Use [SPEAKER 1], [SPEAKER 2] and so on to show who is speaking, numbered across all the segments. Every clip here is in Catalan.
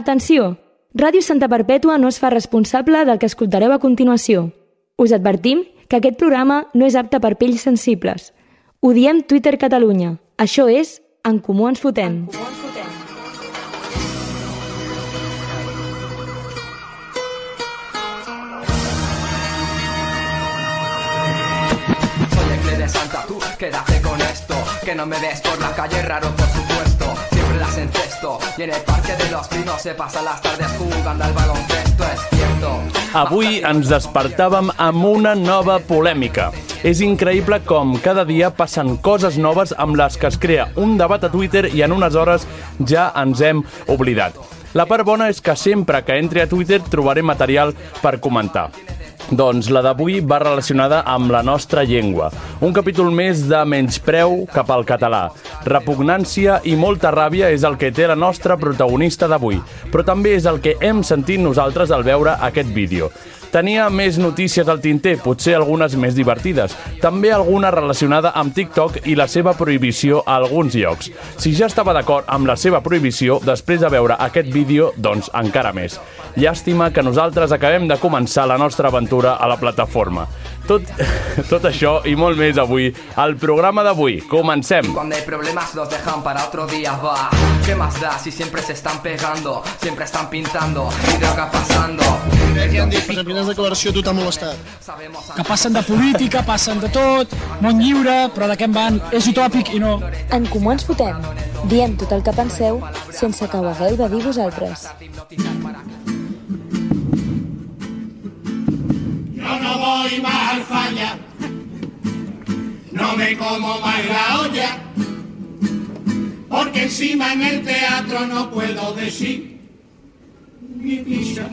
[SPEAKER 1] Atenció! Ràdio Santa Perpètua no es fa responsable del que escoltareu a continuació. Us advertim que aquest programa no és apte per pells sensibles. Ho diem Twitter Catalunya. Això és En Comú Ens Fotem.
[SPEAKER 2] Soy el clé de Santa, tú quédate con esto. Que no me ves por la calle, raro por supuesto. Siempre las encesto. Y en el parque de los pinos se pasan las tardes jugando al baloncesto, es cierto.
[SPEAKER 3] Avui ens despertàvem amb una nova polèmica. És increïble com cada dia passen coses noves amb les que es crea un debat a Twitter i en unes hores ja ens hem oblidat. La part bona és que sempre que entri a Twitter trobaré material per comentar. Doncs la d'avui va relacionada amb la nostra llengua. Un capítol més de menyspreu cap al català. Repugnància i molta ràbia és el que té la nostra protagonista d'avui, però també és el que hem sentit nosaltres al veure aquest vídeo. Tenia més notícies al tinter, potser algunes més divertides. També alguna relacionada amb TikTok i la seva prohibició a alguns llocs. Si ja estava d'acord amb la seva prohibició, després de veure aquest vídeo, doncs encara més. Llàstima que nosaltres acabem de començar la nostra aventura a la plataforma. Tot, tot això i molt més avui al programa d'avui. Comencem!
[SPEAKER 2] Cuando hay problemas los dejan para otro día, va. ¿Qué más da si siempre se están pegando? Siempre están pintando y droga pasando.
[SPEAKER 4] Aquí han dit, per exemple, quines declaració a tu t'ha molestat.
[SPEAKER 2] Sabemos
[SPEAKER 5] que passen de política, passen de tot, món lliure, però de què en van? És utòpic i no.
[SPEAKER 6] En Comú Ens Fotem. Diem tot el que penseu sense que ho hagueu de dir vosaltres.
[SPEAKER 7] Yo no voy más al falla, no me como más la olla, porque encima en el teatro no puedo decir mi pisa.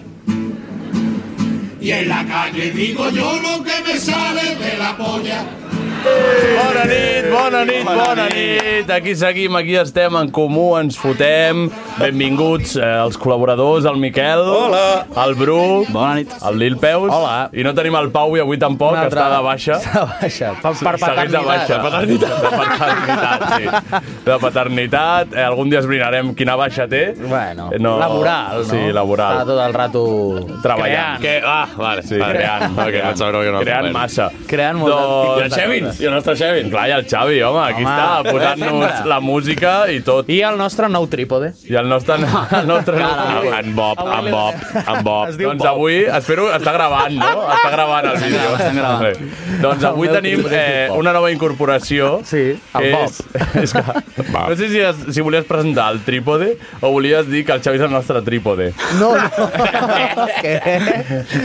[SPEAKER 7] Y en la calle digo yo lo que me sale de la polla.
[SPEAKER 3] Bona nit, bona nit, bona nit. Aquí seguim, aquí estem en comú, ens fotem. Benvinguts eh, els col·laboradors, el Miquel. Hola. El Bru. Bona nit. El Lil Peus. Hola. I no tenim el Pau i avui tampoc, que està de baixa.
[SPEAKER 8] Està de baixa. Per, per
[SPEAKER 3] Segueix de baixa. Paternitat. De paternitat, sí. De paternitat. Eh, algun dia esbrinarem quina baixa té.
[SPEAKER 8] Bueno,
[SPEAKER 3] Eh, no.
[SPEAKER 8] laboral, no?
[SPEAKER 3] Sí, laboral.
[SPEAKER 8] Està tot el rato...
[SPEAKER 3] Treballant.
[SPEAKER 9] Que, ah, vale,
[SPEAKER 3] Sí, creant.
[SPEAKER 9] Ok, no et sabreu que no.
[SPEAKER 3] creant
[SPEAKER 9] Bueno.
[SPEAKER 3] massa.
[SPEAKER 8] Creant moltes
[SPEAKER 3] doncs,
[SPEAKER 8] tipus de
[SPEAKER 3] Xevins,
[SPEAKER 8] coses.
[SPEAKER 3] i el nostre Xevins. Clar, i el Xavi, home, aquí
[SPEAKER 8] Home,
[SPEAKER 3] està, posant-nos
[SPEAKER 8] sempre.
[SPEAKER 3] la música i tot.
[SPEAKER 8] I el nostre nou trípode.
[SPEAKER 3] I el nostre... El nostre en Bob, en Bob, en Bob.
[SPEAKER 8] Es diu
[SPEAKER 3] doncs
[SPEAKER 8] Bob.
[SPEAKER 3] avui, espero, està gravant, no? Està gravant el vídeo.
[SPEAKER 8] gravant, estan gravant.
[SPEAKER 3] Bé. Doncs avui
[SPEAKER 8] El meu
[SPEAKER 3] tenim
[SPEAKER 8] tio es diu
[SPEAKER 3] eh,
[SPEAKER 8] Bob.
[SPEAKER 3] una nova incorporació.
[SPEAKER 8] Sí,
[SPEAKER 3] que
[SPEAKER 8] en Bob.
[SPEAKER 3] És, és que, no sé si, es, si volies presentar el trípode o volies dir que el Xavi és el nostre trípode.
[SPEAKER 8] No, no. Què?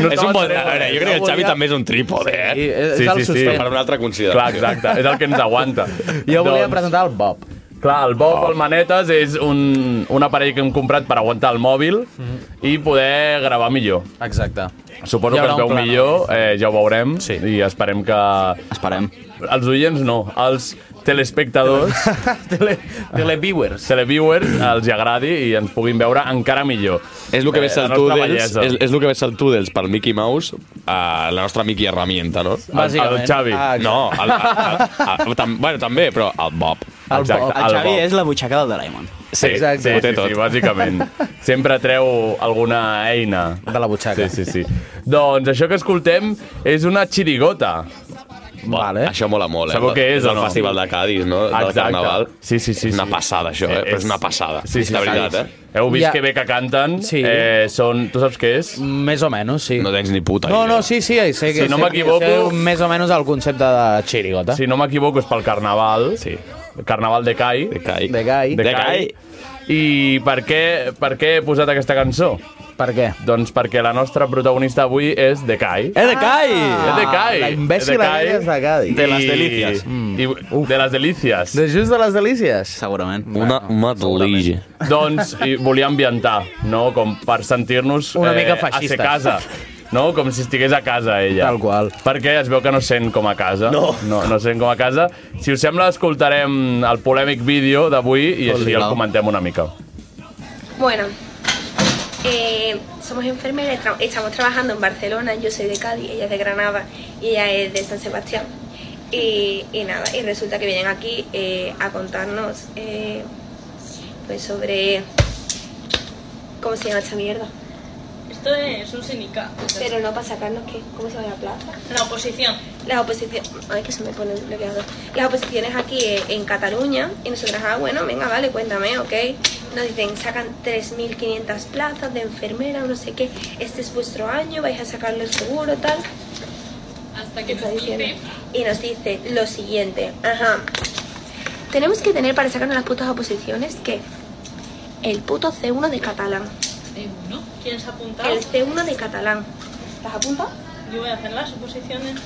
[SPEAKER 3] No
[SPEAKER 9] És un bon... A
[SPEAKER 3] estava
[SPEAKER 9] veure, jo crec que el Xavi també és un trípode,
[SPEAKER 8] I
[SPEAKER 9] eh?
[SPEAKER 8] és
[SPEAKER 3] Sí,
[SPEAKER 8] el
[SPEAKER 3] sí, sí.
[SPEAKER 8] suspens.
[SPEAKER 9] Per una altra
[SPEAKER 3] Clar,
[SPEAKER 9] consideració.
[SPEAKER 3] exacte, és el que ens aguanta.
[SPEAKER 8] Jo volia
[SPEAKER 3] Doncs-
[SPEAKER 8] presentar el Bob.
[SPEAKER 3] Clar, el Bob oh. Manetes és un, un aparell que hem comprat per aguantar el mòbil i poder gravar millor.
[SPEAKER 8] Exacte.
[SPEAKER 3] Suposo
[SPEAKER 8] Mhm. Hi
[SPEAKER 3] que
[SPEAKER 8] haurà
[SPEAKER 3] es veu
[SPEAKER 8] un plànol.
[SPEAKER 3] millor, eh, ja ho veurem,
[SPEAKER 8] Sí.
[SPEAKER 3] i esperem que...
[SPEAKER 8] Esperem.
[SPEAKER 3] Els oients no, els telespectadors,
[SPEAKER 8] Tele, televiewers.
[SPEAKER 3] televiewers, els hi agradi i ens puguin veure encara millor.
[SPEAKER 9] És el que ves
[SPEAKER 3] Eh, la
[SPEAKER 9] el
[SPEAKER 3] nostra
[SPEAKER 9] tu d'ells,
[SPEAKER 3] bellesa.
[SPEAKER 9] és, és el que ves el tu d'ells pel Mickey Mouse, a la nostra Mickey herramienta, no?
[SPEAKER 8] Bàsicament.
[SPEAKER 3] el Xavi.
[SPEAKER 8] Ah, exacte.
[SPEAKER 9] No, el, el, el, el, tam, bueno, també, però el Bob.
[SPEAKER 8] El
[SPEAKER 3] Exacte,
[SPEAKER 8] Bob.
[SPEAKER 3] el Xavi Bob.
[SPEAKER 8] és la butxaca del Doraemon.
[SPEAKER 9] Sí,
[SPEAKER 8] Exacte.
[SPEAKER 3] Sí,
[SPEAKER 9] ho té
[SPEAKER 3] sí,
[SPEAKER 9] tot.
[SPEAKER 3] sí, bàsicament. Sempre treu alguna eina.
[SPEAKER 8] De la butxaca.
[SPEAKER 3] Sí, sí, sí. Doncs això que escoltem és una xirigota.
[SPEAKER 8] Vale.
[SPEAKER 9] Això mola molt, eh?
[SPEAKER 3] Sabeu què és o
[SPEAKER 9] el
[SPEAKER 3] no?
[SPEAKER 9] Festival de Cádiz, no? Del
[SPEAKER 3] Exacte.
[SPEAKER 9] Carnaval.
[SPEAKER 3] Sí, sí, sí,
[SPEAKER 9] És una
[SPEAKER 3] sí.
[SPEAKER 9] passada, això, eh? Però és una passada.
[SPEAKER 3] Sí, sí,
[SPEAKER 9] de
[SPEAKER 3] sí,
[SPEAKER 9] veritat,
[SPEAKER 3] sí.
[SPEAKER 9] eh?
[SPEAKER 3] Heu vist
[SPEAKER 8] Ja.
[SPEAKER 3] que bé que canten.
[SPEAKER 8] Sí. Mm.
[SPEAKER 3] Eh, són, tu saps què és?
[SPEAKER 8] Més o menys, sí.
[SPEAKER 9] No tens ni puta
[SPEAKER 8] No,
[SPEAKER 9] idea.
[SPEAKER 8] no, sí, sí, sé que
[SPEAKER 3] Si no
[SPEAKER 8] sé-
[SPEAKER 3] m'equivoco-
[SPEAKER 8] sé més o menys el concepte de xirigota.
[SPEAKER 3] Si no m'equivoco, és pel Carnaval.
[SPEAKER 9] Sí.
[SPEAKER 3] Carnaval de Cai.
[SPEAKER 9] De Cai.
[SPEAKER 8] De gai.
[SPEAKER 9] De Cai.
[SPEAKER 3] I per què, per què he posat aquesta cançó?
[SPEAKER 8] Per què?
[SPEAKER 3] Doncs perquè la nostra protagonista avui és de Cai.
[SPEAKER 8] de gai!
[SPEAKER 9] Ah!
[SPEAKER 3] és de Cai.
[SPEAKER 8] Ah, La imbècil Mm.
[SPEAKER 3] de Cai.
[SPEAKER 8] és de gai.
[SPEAKER 3] I- I, de les delícies.
[SPEAKER 8] De just de les delícies.
[SPEAKER 10] Segurament.
[SPEAKER 9] Una madlige.
[SPEAKER 3] Doncs i volia ambientar, no? Com per sentir-nos eh,
[SPEAKER 8] Una mica
[SPEAKER 3] a ser
[SPEAKER 8] feixistes.
[SPEAKER 3] casa. No? Com si estigués a casa, ella.
[SPEAKER 8] Tal qual.
[SPEAKER 3] Perquè es veu que no es sent com a casa. No. No, no es sent com a casa. Si us sembla, escoltarem el polèmic vídeo d'avui i així el
[SPEAKER 10] sisplau.
[SPEAKER 3] comentem una mica.
[SPEAKER 11] Bueno, eh, somos enfermeras, tra- estamos trabajando en Barcelona, yo soy de Cádiz, ella es de Granada y ella es de San Sebastián. Y, y nada, y resulta que vienen aquí eh, a contarnos eh, pues sobre ¿Cómo se llama esta mierda?
[SPEAKER 10] Esto es un sindicato.
[SPEAKER 11] Pero no para sacarnos, ¿qué? ¿Cómo se llama la plaza?
[SPEAKER 10] La oposición.
[SPEAKER 11] Las oposiciones. Ay, que se me pone el bloqueador. Las oposiciones aquí eh, en Cataluña. Y nosotras, ah, bueno, venga, vale, cuéntame, ok. Nos dicen, sacan 3.500 plazas de enfermera, no sé qué. Este es vuestro año, vais a sacarlo el seguro, tal.
[SPEAKER 10] Hasta que
[SPEAKER 11] Está
[SPEAKER 10] nos
[SPEAKER 11] diciendo.
[SPEAKER 10] dice.
[SPEAKER 11] Y nos dice lo siguiente. Ajá. Tenemos que tener para sacarnos las putas oposiciones que el puto C1 de catalán.
[SPEAKER 10] ¿No? ¿Quién se ha apuntado?
[SPEAKER 11] El C1 de catalán. ¿Estás apuntado?
[SPEAKER 10] Yo voy a hacer las oposiciones.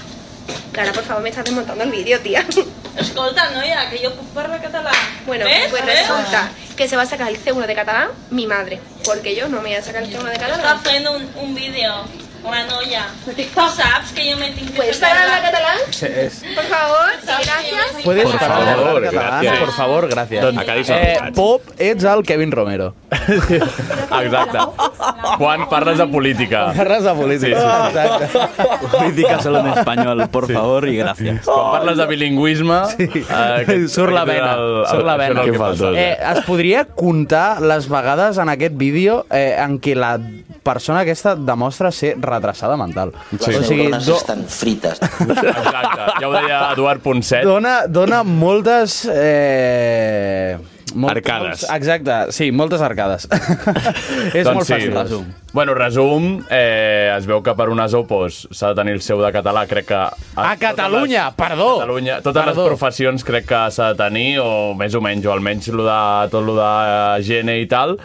[SPEAKER 11] Clara, por favor, me estás desmontando el vídeo, tía.
[SPEAKER 10] Escolta, noia, que jo puc parlar català.
[SPEAKER 11] Bueno,
[SPEAKER 10] ¿Ves?
[SPEAKER 11] pues
[SPEAKER 10] ¿Ves?
[SPEAKER 11] resulta que se va a sacar el C1 de catalán mi madre, porque yo no me voy a sacar el C1 de
[SPEAKER 10] Està
[SPEAKER 11] catalán.
[SPEAKER 10] fent un, un vídeo, una noia. Tu saps que jo me tinc que
[SPEAKER 11] ¿Puedes hablar catalán? Por favor, sí, gracias.
[SPEAKER 8] Puedes
[SPEAKER 9] Por
[SPEAKER 8] parar de
[SPEAKER 9] favor,
[SPEAKER 8] hablar catalán,
[SPEAKER 9] gracias.
[SPEAKER 8] por favor, gracias.
[SPEAKER 9] Doncs acabis
[SPEAKER 8] eh,
[SPEAKER 9] amb-
[SPEAKER 8] Pop, ets el Kevin Romero.
[SPEAKER 9] Exacte. Quan parles de política.
[SPEAKER 8] Parles de política. Ah, Exacte.
[SPEAKER 12] Política solo en español, por favor y gracias.
[SPEAKER 3] Quan parles de bilingüisme... Sí. Uh,
[SPEAKER 8] Surt la vena, surt la
[SPEAKER 3] Això és
[SPEAKER 8] vena.
[SPEAKER 3] el que falta.
[SPEAKER 8] Eh, es podria comptar les vegades en aquest vídeo eh, en què la persona aquesta demostra ser retrasada mental.
[SPEAKER 3] Les neurones
[SPEAKER 8] estan frites.
[SPEAKER 3] Exacte, ja ho deia Eduard Ponset.
[SPEAKER 8] Dona, dona moltes... Eh, molt,
[SPEAKER 3] Arcades.
[SPEAKER 8] molts- exacte, sí, moltes arcades. és
[SPEAKER 3] Doncs
[SPEAKER 8] molt fàcil.
[SPEAKER 3] Bueno, resum, eh, es veu que per unes opos s'ha de tenir el seu de català, crec que... A,
[SPEAKER 8] Catalunya,
[SPEAKER 3] perdó! Catalunya, totes les professions crec que s'ha de tenir, o més o menys, o almenys lo de, tot el de gene i tal,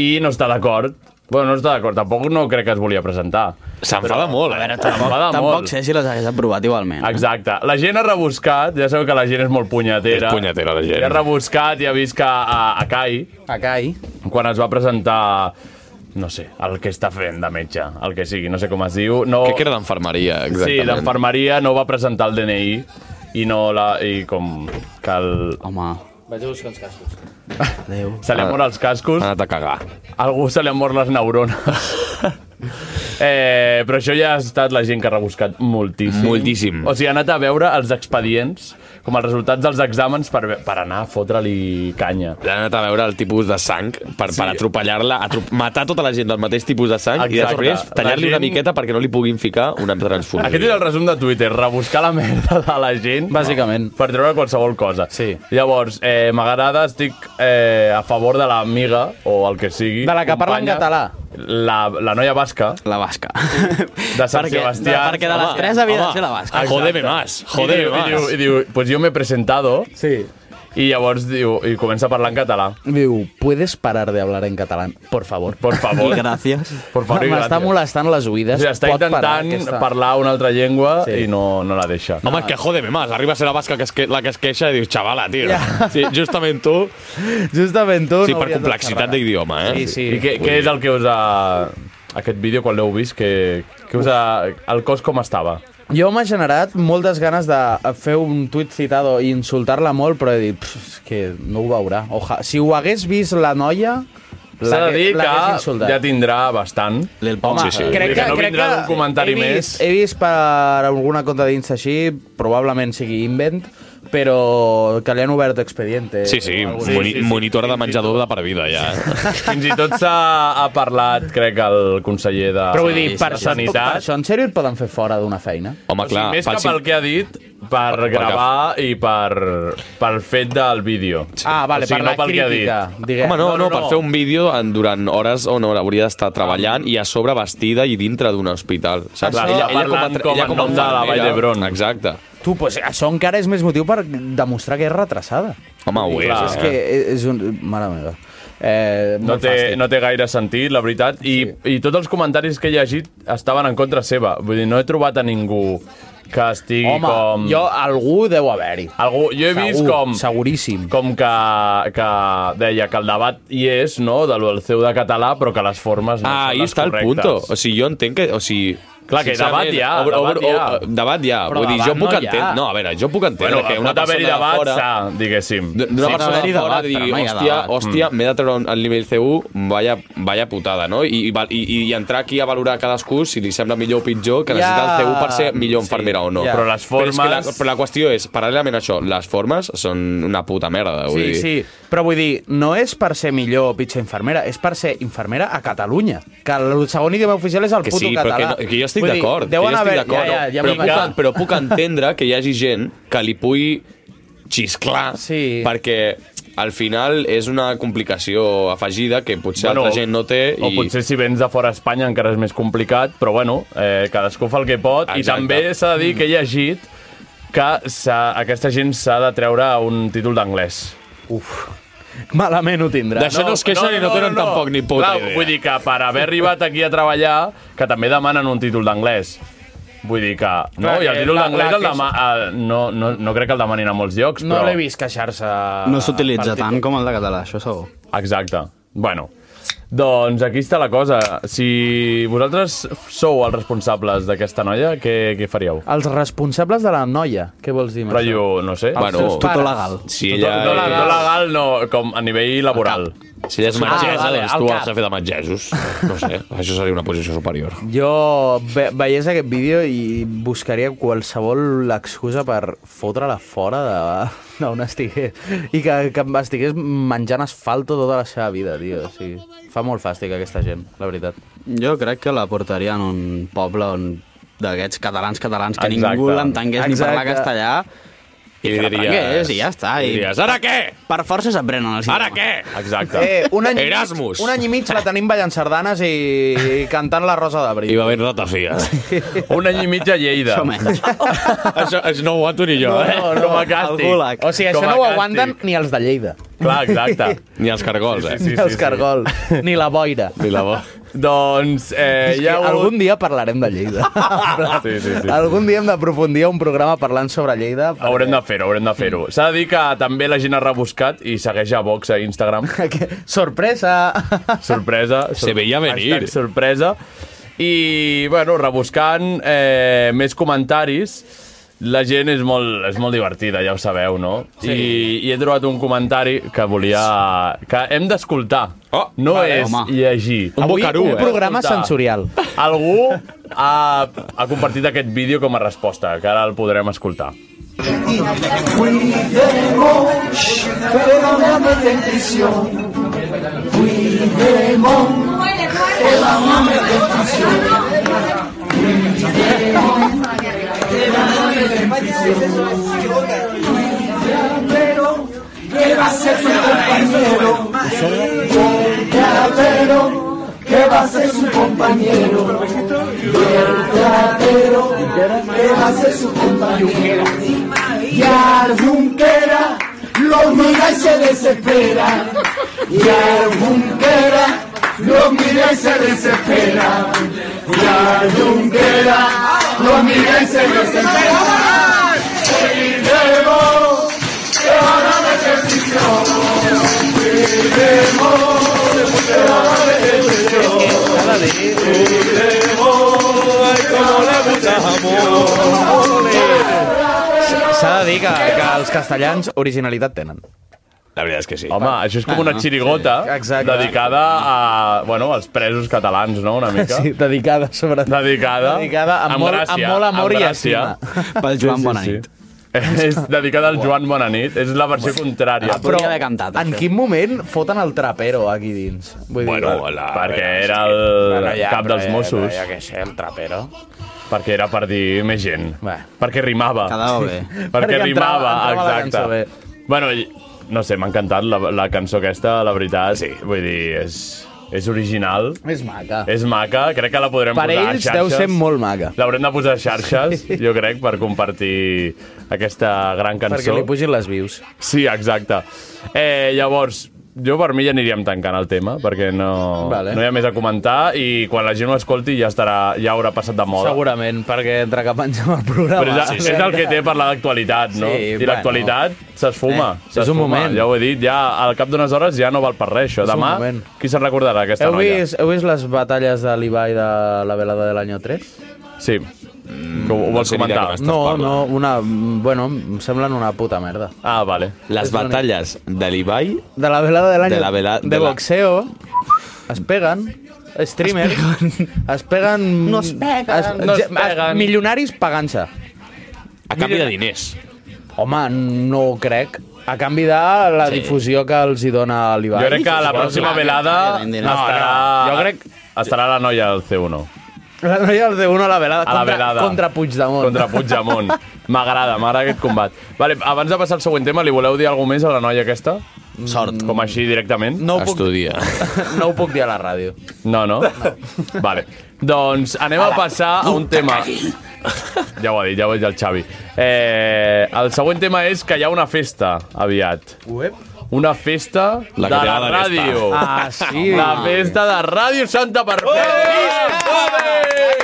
[SPEAKER 3] i no està d'acord. Bueno, no està d'acord, tampoc no crec que es volia presentar.
[SPEAKER 9] S'enfada molt, eh? A veure,
[SPEAKER 12] Tampoc,
[SPEAKER 3] M'enfada
[SPEAKER 12] tampoc
[SPEAKER 3] molt.
[SPEAKER 12] sé si les hagués aprovat igualment.
[SPEAKER 3] Exacte. La gent ha rebuscat, ja sabeu que la gent és molt punyatera.
[SPEAKER 9] És punyatera, la gent.
[SPEAKER 3] I ha rebuscat i ha vist que a, a Kai...
[SPEAKER 8] A Kai.
[SPEAKER 3] Quan es va presentar no sé, el que està fent de metge, el que sigui, no sé com es diu. No...
[SPEAKER 9] Crec que era d'enfermeria,
[SPEAKER 3] Sí,
[SPEAKER 9] exactament.
[SPEAKER 3] d'enfermeria no va presentar el DNI i no la... i com que el...
[SPEAKER 12] Home...
[SPEAKER 8] Vaig a buscar els cascos.
[SPEAKER 12] Adéu.
[SPEAKER 3] Se li han mort els cascos.
[SPEAKER 9] Ha anat a cagar.
[SPEAKER 3] Algú se li han mort les neurones. eh, però això ja ha estat la gent que ha rebuscat moltíssim.
[SPEAKER 9] Moltíssim.
[SPEAKER 3] O sigui, ha anat a veure els expedients, com els resultats dels exàmens per, ve- per anar a fotre-li canya.
[SPEAKER 9] L'han anat a veure el tipus de sang per, sí. per atropellar-la, atrop matar tota la gent del mateix tipus de sang i
[SPEAKER 3] Exacte.
[SPEAKER 9] després tallar-li
[SPEAKER 3] La gent-
[SPEAKER 9] una miqueta perquè no li puguin ficar una transfusió.
[SPEAKER 3] Aquest és el resum de Twitter, rebuscar la merda de la gent
[SPEAKER 8] Bàsicament.
[SPEAKER 3] per treure qualsevol cosa.
[SPEAKER 8] Sí.
[SPEAKER 3] Llavors, eh, m'agrada, estic eh, a favor de l'amiga, o el que sigui.
[SPEAKER 8] De la que parla en català.
[SPEAKER 3] La, la noia basca.
[SPEAKER 12] La basca.
[SPEAKER 3] De Sant
[SPEAKER 12] Perquè-
[SPEAKER 3] Sebastià.
[SPEAKER 12] de- perquè de les tres havia de ser la basca.
[SPEAKER 9] Jodeme más,
[SPEAKER 3] I
[SPEAKER 9] jodeme
[SPEAKER 3] diu,
[SPEAKER 9] más.
[SPEAKER 3] i diu, i diu pues yo me he presentado.
[SPEAKER 8] Sí.
[SPEAKER 3] I llavors diu, i comença a parlar en català.
[SPEAKER 8] Diu, ¿puedes parar de hablar en catalán, por favor?
[SPEAKER 3] Por favor.
[SPEAKER 12] I gràcies.
[SPEAKER 3] Por favor i
[SPEAKER 8] M'està
[SPEAKER 3] gràcies.
[SPEAKER 8] molestant les oïdes.
[SPEAKER 3] O sigui, està
[SPEAKER 8] Pot parar
[SPEAKER 3] intentant
[SPEAKER 8] aquesta?
[SPEAKER 3] parlar una altra llengua
[SPEAKER 8] Sí.
[SPEAKER 3] i no, no la deixa.
[SPEAKER 9] Home, que jodeme más. Arriba a ser la basca que es que, la que es queixa i dius, xavala, tio.
[SPEAKER 8] Ja.
[SPEAKER 9] Sí, justament tu,
[SPEAKER 8] Justament tu...
[SPEAKER 9] sí, per
[SPEAKER 8] hauries de
[SPEAKER 9] complexitat
[SPEAKER 8] xerrar.
[SPEAKER 9] d'idioma, eh?
[SPEAKER 8] Sí, sí.
[SPEAKER 3] I què, què és el que us ha... Aquest vídeo, quan l'heu vist, que, que us ha... El cos com estava?
[SPEAKER 8] Jo m'ha generat moltes ganes de fer un tuit citado i insultar-la molt, però he dit "Pff, és que no ho veurà. Oja. Si ho hagués vist la noia,
[SPEAKER 3] S'ha de
[SPEAKER 8] l'hagués-
[SPEAKER 3] dir
[SPEAKER 8] l'hagués
[SPEAKER 3] que
[SPEAKER 8] insultat.
[SPEAKER 3] ja tindrà bastant.
[SPEAKER 12] L'El Pau.
[SPEAKER 8] Home,
[SPEAKER 9] Sí, sí.
[SPEAKER 3] Vull dir
[SPEAKER 8] crec
[SPEAKER 3] que
[SPEAKER 8] que,
[SPEAKER 3] no
[SPEAKER 8] crec
[SPEAKER 3] vindrà
[SPEAKER 8] que
[SPEAKER 3] algun comentari
[SPEAKER 8] he
[SPEAKER 3] més.
[SPEAKER 8] vist, He vist per alguna conta d'Insta així, probablement sigui invent, però que li han obert expediente.
[SPEAKER 9] Sí, sí,
[SPEAKER 8] o alguna
[SPEAKER 9] moni monitora de menjador de per vida, ja.
[SPEAKER 3] Fins i tot s'ha ha parlat, crec, el conseller de,
[SPEAKER 8] Però vull dir,
[SPEAKER 3] de
[SPEAKER 8] per, per
[SPEAKER 3] Sanitat.
[SPEAKER 8] això en sèrio et poden fer fora d'una feina?
[SPEAKER 9] Home, clar,
[SPEAKER 3] més
[SPEAKER 9] pel
[SPEAKER 3] que pel
[SPEAKER 9] cin-
[SPEAKER 3] que ha dit, per
[SPEAKER 9] pel que-
[SPEAKER 3] gravar i per, per fet del vídeo.
[SPEAKER 8] Ah, vale,
[SPEAKER 3] O sigui,
[SPEAKER 8] per
[SPEAKER 3] no
[SPEAKER 8] la
[SPEAKER 3] pel que ha
[SPEAKER 8] crítica.
[SPEAKER 3] dit.
[SPEAKER 8] Diguem.
[SPEAKER 9] Home, no, no,
[SPEAKER 3] Eh, No, no,
[SPEAKER 9] per
[SPEAKER 3] no.
[SPEAKER 9] fer un vídeo en, durant hores on hora hauria d'estar treballant i a sobre vestida i dintre d'un hospital. Saps?
[SPEAKER 3] Clar, parlant
[SPEAKER 9] a-
[SPEAKER 3] com en nom de la Vall
[SPEAKER 9] enfermera.
[SPEAKER 3] d'Hebron.
[SPEAKER 9] Exacte.
[SPEAKER 8] Tu, pues, això encara és més motiu per demostrar que és retrasada.
[SPEAKER 9] Home, ho és.
[SPEAKER 3] Clar.
[SPEAKER 8] És
[SPEAKER 9] eh?
[SPEAKER 8] que és un... Mare meva. Eh,
[SPEAKER 3] Ah, No
[SPEAKER 8] molt
[SPEAKER 3] té,
[SPEAKER 8] fàstic.
[SPEAKER 3] no té gaire sentit, la veritat. I, sí. I tots els comentaris que he llegit estaven en contra seva. Vull dir, no he trobat a ningú que estigui
[SPEAKER 8] Home,
[SPEAKER 3] com...
[SPEAKER 8] jo, algú deu haver-hi.
[SPEAKER 3] Algú, jo he vist
[SPEAKER 8] Segur,
[SPEAKER 3] com...
[SPEAKER 8] Seguríssim.
[SPEAKER 3] Com que, que deia que el debat hi és, no?, del del seu de català, però que les formes no
[SPEAKER 9] Ah,
[SPEAKER 3] són
[SPEAKER 9] ahí
[SPEAKER 3] les
[SPEAKER 9] està el
[SPEAKER 3] correctes.
[SPEAKER 9] punto. O sigui, jo entenc que... O sigui,
[SPEAKER 3] Clar, que
[SPEAKER 9] sincerament,
[SPEAKER 3] debat hi ha,
[SPEAKER 9] obre-
[SPEAKER 3] debat
[SPEAKER 9] obre-
[SPEAKER 3] hi ha.
[SPEAKER 9] o- Debat hi ha.
[SPEAKER 8] Però
[SPEAKER 9] Vull dir, jo
[SPEAKER 8] debat no
[SPEAKER 9] puc
[SPEAKER 8] hi ha.
[SPEAKER 9] entendre... No, a veure, jo puc entendre
[SPEAKER 3] Bueno,
[SPEAKER 9] que una
[SPEAKER 3] pot haver-hi
[SPEAKER 9] persona de
[SPEAKER 3] debat,
[SPEAKER 9] fora...
[SPEAKER 3] sa, diguéssim.
[SPEAKER 9] D'una
[SPEAKER 12] Sí,
[SPEAKER 9] persona
[SPEAKER 12] haver-hi
[SPEAKER 9] de fora
[SPEAKER 12] debat,
[SPEAKER 9] de dir,
[SPEAKER 12] però no hi ha
[SPEAKER 9] hòstia,
[SPEAKER 8] Mm.
[SPEAKER 12] debat.
[SPEAKER 9] hòstia, m'he de treure un- el nivell C1, vaya, vaya putada, no? I, i, val- i, i entrar aquí a valorar cadascú si li sembla millor o pitjor, que
[SPEAKER 8] Ja.
[SPEAKER 9] necessita el C1 per ser millor enfermera manera o no.
[SPEAKER 3] Ja. Però les
[SPEAKER 9] Però, és que la,
[SPEAKER 3] formes-
[SPEAKER 9] però la qüestió és, paral·lelament a això, les formes són una puta merda. Vull
[SPEAKER 8] Sí,
[SPEAKER 9] dir.
[SPEAKER 8] sí, però vull dir, no és per ser millor o pitjor infermera, és per ser infermera a Catalunya. Que el segon idioma oficial és el
[SPEAKER 9] Que
[SPEAKER 8] puto
[SPEAKER 9] sí, però que,
[SPEAKER 8] català.
[SPEAKER 9] no, que jo estic
[SPEAKER 8] Vull dir,
[SPEAKER 9] d'acord. que
[SPEAKER 8] deuen
[SPEAKER 9] jo estic
[SPEAKER 8] haver-
[SPEAKER 9] d'acord.
[SPEAKER 8] Ja, ja, ja
[SPEAKER 9] però,
[SPEAKER 8] m'he
[SPEAKER 9] puc, però puc entendre que hi hagi gent que li pugui xisclar sí. perquè al final és una complicació afegida que potser bueno, altra gent no té
[SPEAKER 3] O
[SPEAKER 9] i
[SPEAKER 3] potser si vens de fora a Espanya encara és més complicat, però bueno, eh, cadascú fa el que pot. Exacte. I
[SPEAKER 9] Exacte. Mm.
[SPEAKER 3] també s'ha de dir que he llegit que s'ha- aquesta gent s'ha de treure un títol d'anglès. Uf.
[SPEAKER 8] Malament ho tindrà.
[SPEAKER 3] D'això no es queixen i no tenen tampoc ni puta idea. Vull dir que per haver arribat aquí a treballar, que també demanen un títol d'anglès. Vull dir que... No,
[SPEAKER 8] Clar,
[SPEAKER 3] i el
[SPEAKER 8] que
[SPEAKER 3] títol
[SPEAKER 8] la-
[SPEAKER 3] d'anglès
[SPEAKER 8] la
[SPEAKER 3] el dema... el- No, no, no crec que el demanin a molts llocs,
[SPEAKER 8] No
[SPEAKER 3] però...
[SPEAKER 8] l'he vist queixar-se...
[SPEAKER 12] No s'utilitza tant
[SPEAKER 3] com el de català, això segur. Exacte. Bueno, doncs aquí està la cosa. Si vosaltres sou els responsables d'aquesta noia, què, què faríeu?
[SPEAKER 8] Els responsables de la noia, què vols dir? amb
[SPEAKER 3] Però
[SPEAKER 8] això?
[SPEAKER 3] jo no sé.
[SPEAKER 8] Els Bueno, seus pares. tutor legal.
[SPEAKER 9] Si
[SPEAKER 3] tutor, tutor
[SPEAKER 9] ella
[SPEAKER 3] legal.
[SPEAKER 9] és-
[SPEAKER 3] Tutor legal no, com a nivell laboral.
[SPEAKER 9] si ella és metgessa,
[SPEAKER 8] vale,
[SPEAKER 9] doncs
[SPEAKER 8] al
[SPEAKER 9] tu
[SPEAKER 8] cap.
[SPEAKER 9] has de fer de metgessos. No sé, això seria una posició superior.
[SPEAKER 8] Jo ve veiés aquest vídeo i buscaria qualsevol excusa per fotre-la fora de- d'on estigués. I que, que em estigués menjant asfalto tota la seva vida, tio. O sigui, fa molt fàstic aquesta gent, la veritat.
[SPEAKER 12] Jo crec que la portaria en un poble on d'aquests catalans catalans que
[SPEAKER 8] Exacte.
[SPEAKER 12] ningú l'entengués ni parlar
[SPEAKER 8] Exacte.
[SPEAKER 12] castellà i que
[SPEAKER 9] diries-
[SPEAKER 12] l'aprengués i ja està. I
[SPEAKER 9] li diries, "Ara què?"
[SPEAKER 12] Per força s'aprenen els
[SPEAKER 9] Ara què? Exacte.
[SPEAKER 8] i mig-
[SPEAKER 9] Erasmus.
[SPEAKER 8] un Eh, any i mig la tenim ballant sardanes i, i cantant la Rosa d'Abril.
[SPEAKER 9] I va haver ratafia.
[SPEAKER 3] Un any i mig a Lleida.
[SPEAKER 9] Això
[SPEAKER 12] menys.
[SPEAKER 9] això, això no ho aguanto ni jo, eh?
[SPEAKER 3] Com a càstig.
[SPEAKER 8] O sigui, això
[SPEAKER 3] Com a
[SPEAKER 8] no ho
[SPEAKER 3] càstig.
[SPEAKER 8] aguanten ni els de Lleida.
[SPEAKER 3] Clar, exacte.
[SPEAKER 9] Ni els cargols, eh?
[SPEAKER 8] ni els cargols, ni la boira.
[SPEAKER 9] Ni la bo.
[SPEAKER 3] Doncs... Eh,
[SPEAKER 8] És
[SPEAKER 3] hi ha
[SPEAKER 8] que
[SPEAKER 3] hagut-
[SPEAKER 8] Algun dia parlarem de Lleida.
[SPEAKER 3] Sí, sí, sí.
[SPEAKER 8] Algun dia hem d'aprofundir a un programa parlant sobre Lleida. perquè-
[SPEAKER 3] Haurem de fer-ho, haurem de fer-ho. S'ha de dir que també la gent ha rebuscat i segueix a Vox a Instagram.
[SPEAKER 8] Sorpresa!
[SPEAKER 3] Sorpresa.
[SPEAKER 9] Se veia venir.
[SPEAKER 3] Hashtag sorpresa. I, bueno, rebuscant eh, més comentaris, la gent és molt, és molt divertida, ja ho sabeu, no? Sí. I, I he trobat un comentari que volia... que hem d'escoltar. Oh, no
[SPEAKER 8] vale,
[SPEAKER 3] és
[SPEAKER 8] home.
[SPEAKER 3] llegir.
[SPEAKER 8] Un Avui bocarú, un eh? programa
[SPEAKER 3] Escoltar.
[SPEAKER 8] sensorial.
[SPEAKER 3] Algú ha, ha compartit aquest vídeo com a resposta, que ara el podrem escoltar.
[SPEAKER 7] Cuidemos, pero no me en prisión. Cuidemos, que van a meter en prisión. Pero, ¿qué va a ser su compañero? Verdadero, ¿qué va a ser su compañero? Verdadero, ¿qué va a ser su compañero? Y al Junquera lo mira y se desespera. Y al Junquera lo mira y se desespera. Y al Junquera lo mira y se desespera. Cuidemos, que van a meter prisión. Cuidemos, que van a meter prisión. Cuidemos, ay, como le gusta amor.
[SPEAKER 8] S'ha de dir que, que els castellans originalitat tenen.
[SPEAKER 9] La veritat és que sí.
[SPEAKER 3] Home, això és com
[SPEAKER 8] Ah,
[SPEAKER 3] una xirigota dedicada a, bueno, als presos catalans, no?, una mica.
[SPEAKER 8] Sí, dedicada, sobretot.
[SPEAKER 3] Dedicada,
[SPEAKER 8] Dedicada amb, molt,
[SPEAKER 3] gràcia,
[SPEAKER 8] amb molt amor
[SPEAKER 3] amb
[SPEAKER 8] i
[SPEAKER 3] gràcia.
[SPEAKER 8] estima.
[SPEAKER 12] Pel Joan Bonanit.
[SPEAKER 3] Sí. És dedicada al Joan Bonanit, és la versió contrària.
[SPEAKER 8] Ah, en quin moment foten el trapero aquí dins? Vull
[SPEAKER 3] Bueno, la, perquè era el
[SPEAKER 8] Bueno, ja,
[SPEAKER 3] cap
[SPEAKER 8] però
[SPEAKER 3] dels
[SPEAKER 8] ja,
[SPEAKER 3] Mossos.
[SPEAKER 8] però ja que sé, el trapero.
[SPEAKER 3] Perquè era per dir més gent. Perquè rimava.
[SPEAKER 12] Quedava bé.
[SPEAKER 3] perquè
[SPEAKER 8] Perquè entrava-
[SPEAKER 3] rimava,
[SPEAKER 8] entrava la
[SPEAKER 3] exacte.
[SPEAKER 8] cançó bé.
[SPEAKER 3] Bueno, i- no sé, m'ha encantat la, la cançó aquesta, la veritat. Sí. Vull dir, és, és original.
[SPEAKER 8] És maca.
[SPEAKER 3] És maca, crec que la podrem
[SPEAKER 8] Per
[SPEAKER 3] posar
[SPEAKER 8] ells
[SPEAKER 3] a
[SPEAKER 8] deu
[SPEAKER 3] xarxes.
[SPEAKER 8] ser molt maca.
[SPEAKER 3] L'haurem de posar a xarxes, jo crec, per compartir aquesta gran cançó.
[SPEAKER 8] Perquè li pugin les views.
[SPEAKER 3] Sí, exacte. Eh, llavors, jo per mi ja aniríem tancant el tema, perquè no,
[SPEAKER 8] Vale.
[SPEAKER 3] no hi ha més a comentar i quan la gent ho escolti ja estarà ja haurà passat de moda.
[SPEAKER 8] Segurament, perquè entre que pengem el programa...
[SPEAKER 3] Però és, és el que té parlar d'actualitat, no? I
[SPEAKER 8] Sí, bueno.
[SPEAKER 3] l'actualitat s'esfuma.
[SPEAKER 8] Eh, és
[SPEAKER 3] s'esfuma.
[SPEAKER 8] un moment.
[SPEAKER 3] Ja ho he dit, ja al cap d'unes hores ja no val per res, això.
[SPEAKER 8] És un
[SPEAKER 3] Demà,
[SPEAKER 8] moment.
[SPEAKER 3] qui se'n recordarà aquesta
[SPEAKER 8] Heu
[SPEAKER 3] noia?
[SPEAKER 8] vist, heu vist les batalles de l'Ibai de la velada de l'any 3?
[SPEAKER 3] Sí. Que ho, ho vols comentar?
[SPEAKER 8] No, no, una... Bueno, em semblen una puta merda.
[SPEAKER 3] Ah, vale.
[SPEAKER 9] Les
[SPEAKER 8] És l'únic.
[SPEAKER 9] batalles de l'Ibai...
[SPEAKER 8] De la velada de l'any...
[SPEAKER 9] De la vela-
[SPEAKER 8] de
[SPEAKER 9] de la-
[SPEAKER 8] boxeo. Es peguen. Streamer. Es peguen... No es
[SPEAKER 7] peguen.
[SPEAKER 8] Es,
[SPEAKER 7] No es peguen.
[SPEAKER 8] milionaris pagant-se.
[SPEAKER 9] A canvi de diners.
[SPEAKER 8] Home, no ho crec. A canvi de la sí. difusió que els hi dona l'Ibai.
[SPEAKER 3] Jo crec que a la pròxima velada estarà...
[SPEAKER 8] Jo crec...
[SPEAKER 3] Estarà la noia del C1.
[SPEAKER 8] La noia del D1 a la velada.
[SPEAKER 3] A la
[SPEAKER 8] contra,
[SPEAKER 3] velada.
[SPEAKER 8] Contra Puigdemont.
[SPEAKER 3] Contra Puigdemont. M'agrada, m'agrada aquest combat. Vale, abans de passar al següent tema, li voleu dir alguna més a la noia aquesta? Sort.
[SPEAKER 9] Mm.
[SPEAKER 3] Com així, directament? No
[SPEAKER 9] Estudia.
[SPEAKER 8] No ho puc dir a la ràdio.
[SPEAKER 3] No, no? Vale. Doncs anem a,
[SPEAKER 8] A la
[SPEAKER 3] passar a un tema... Ja ho ha dit, ja ho ha dit el Xavi. Eh, el següent tema és que hi ha una festa aviat.
[SPEAKER 8] Uep.
[SPEAKER 3] Una festa
[SPEAKER 9] La que
[SPEAKER 3] de
[SPEAKER 9] té
[SPEAKER 3] la
[SPEAKER 9] la resta.
[SPEAKER 3] ràdio.
[SPEAKER 9] Ah, sí. Oh!
[SPEAKER 3] La festa de Ràdio Santa Perpètua.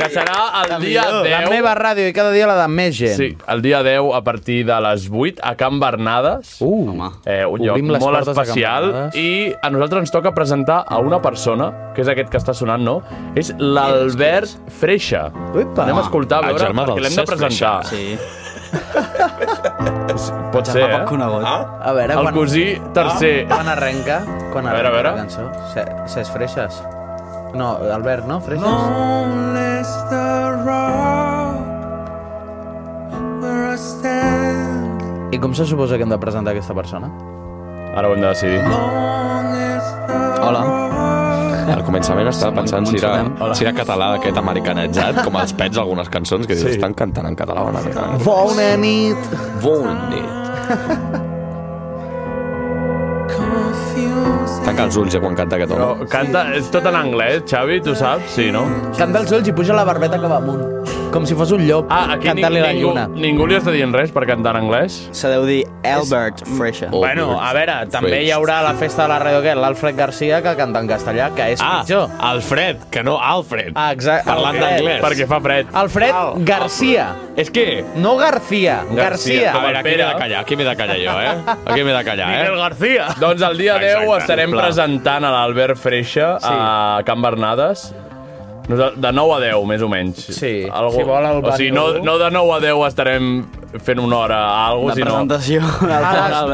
[SPEAKER 3] Que serà el dia 10.
[SPEAKER 8] La meva ràdio i cada dia la de més gent.
[SPEAKER 3] Sí, el dia 10 a partir de les 8 a Can Bernades.
[SPEAKER 8] Uh,
[SPEAKER 3] eh, un lloc
[SPEAKER 8] obrim les
[SPEAKER 3] molt
[SPEAKER 8] portes a Can
[SPEAKER 3] especial.
[SPEAKER 8] Bernades.
[SPEAKER 3] I a nosaltres ens toca presentar a una persona, que és aquest que està sonant, no? És l'Albert Freixa.
[SPEAKER 8] Uepa.
[SPEAKER 3] Anem a escoltar, a
[SPEAKER 9] El
[SPEAKER 3] veure,
[SPEAKER 9] germà del
[SPEAKER 3] perquè l'hem de
[SPEAKER 9] Cesc
[SPEAKER 3] presentar.
[SPEAKER 9] Freixa. Sí.
[SPEAKER 3] Pot ser, eh?
[SPEAKER 8] Ah? A veure,
[SPEAKER 3] El cosí tercer.
[SPEAKER 8] Ah? Quan arrenca? Quan
[SPEAKER 3] A veure,
[SPEAKER 8] arrenca
[SPEAKER 3] a veure.
[SPEAKER 8] la cançó? Se, ses freixes? No, Albert, no? Freixes?
[SPEAKER 13] Lonely's the rock where I stand.
[SPEAKER 8] I com se suposa que hem de presentar aquesta persona?
[SPEAKER 3] Ara ho hem de decidir.
[SPEAKER 9] Hola. Al començament estava pensant si era, si era català aquest americanitzat, com els pets algunes cançons, que dius, sí. estan cantant en català o en americà.
[SPEAKER 13] Oh,
[SPEAKER 8] Bona nit!
[SPEAKER 9] Bonny. Tanca els ulls ja quan canta aquest home.
[SPEAKER 3] Però canta, és tot en anglès, Xavi, tu saps? Sí, no?
[SPEAKER 8] Canta els ulls i puja la barbeta cap amunt. Com si fos un llop ah,
[SPEAKER 3] Aquí ni-
[SPEAKER 8] cantant-li la
[SPEAKER 3] ningú,
[SPEAKER 8] lluna.
[SPEAKER 3] ningú li està dient res per cantar en anglès?
[SPEAKER 14] Se deu dir Albert Fresha.
[SPEAKER 9] Oh,
[SPEAKER 8] Bueno, a veure, també hi haurà a la festa de la ràdio aquest, l'Alfred Garcia que canta en castellà, que és
[SPEAKER 9] Ah,
[SPEAKER 8] pitjor.
[SPEAKER 9] Alfred, que no Alfred.
[SPEAKER 8] Ah, exacte.
[SPEAKER 9] Parlant
[SPEAKER 8] Alfred.
[SPEAKER 9] d'anglès.
[SPEAKER 8] Perquè
[SPEAKER 3] fa fred.
[SPEAKER 8] Alfred Garcia.
[SPEAKER 9] És que...
[SPEAKER 8] No García, Garcia.
[SPEAKER 9] A veure, aquí m'he de callar, aquí m'he de callar jo, eh? Aquí m'he de callar, eh?
[SPEAKER 3] García. Doncs el dia 10
[SPEAKER 9] Exacte.
[SPEAKER 3] estarem
[SPEAKER 9] Clar.
[SPEAKER 3] presentant a l'Albert Freixa a Can Bernades. Nos- De 9 a 10, més o menys. Sí,
[SPEAKER 12] si vol el
[SPEAKER 3] o sigui, no,
[SPEAKER 12] Banyol.
[SPEAKER 3] no de 9 a 10 estarem fent una hora a alguna
[SPEAKER 12] La
[SPEAKER 3] cosa,
[SPEAKER 12] presentació del
[SPEAKER 8] A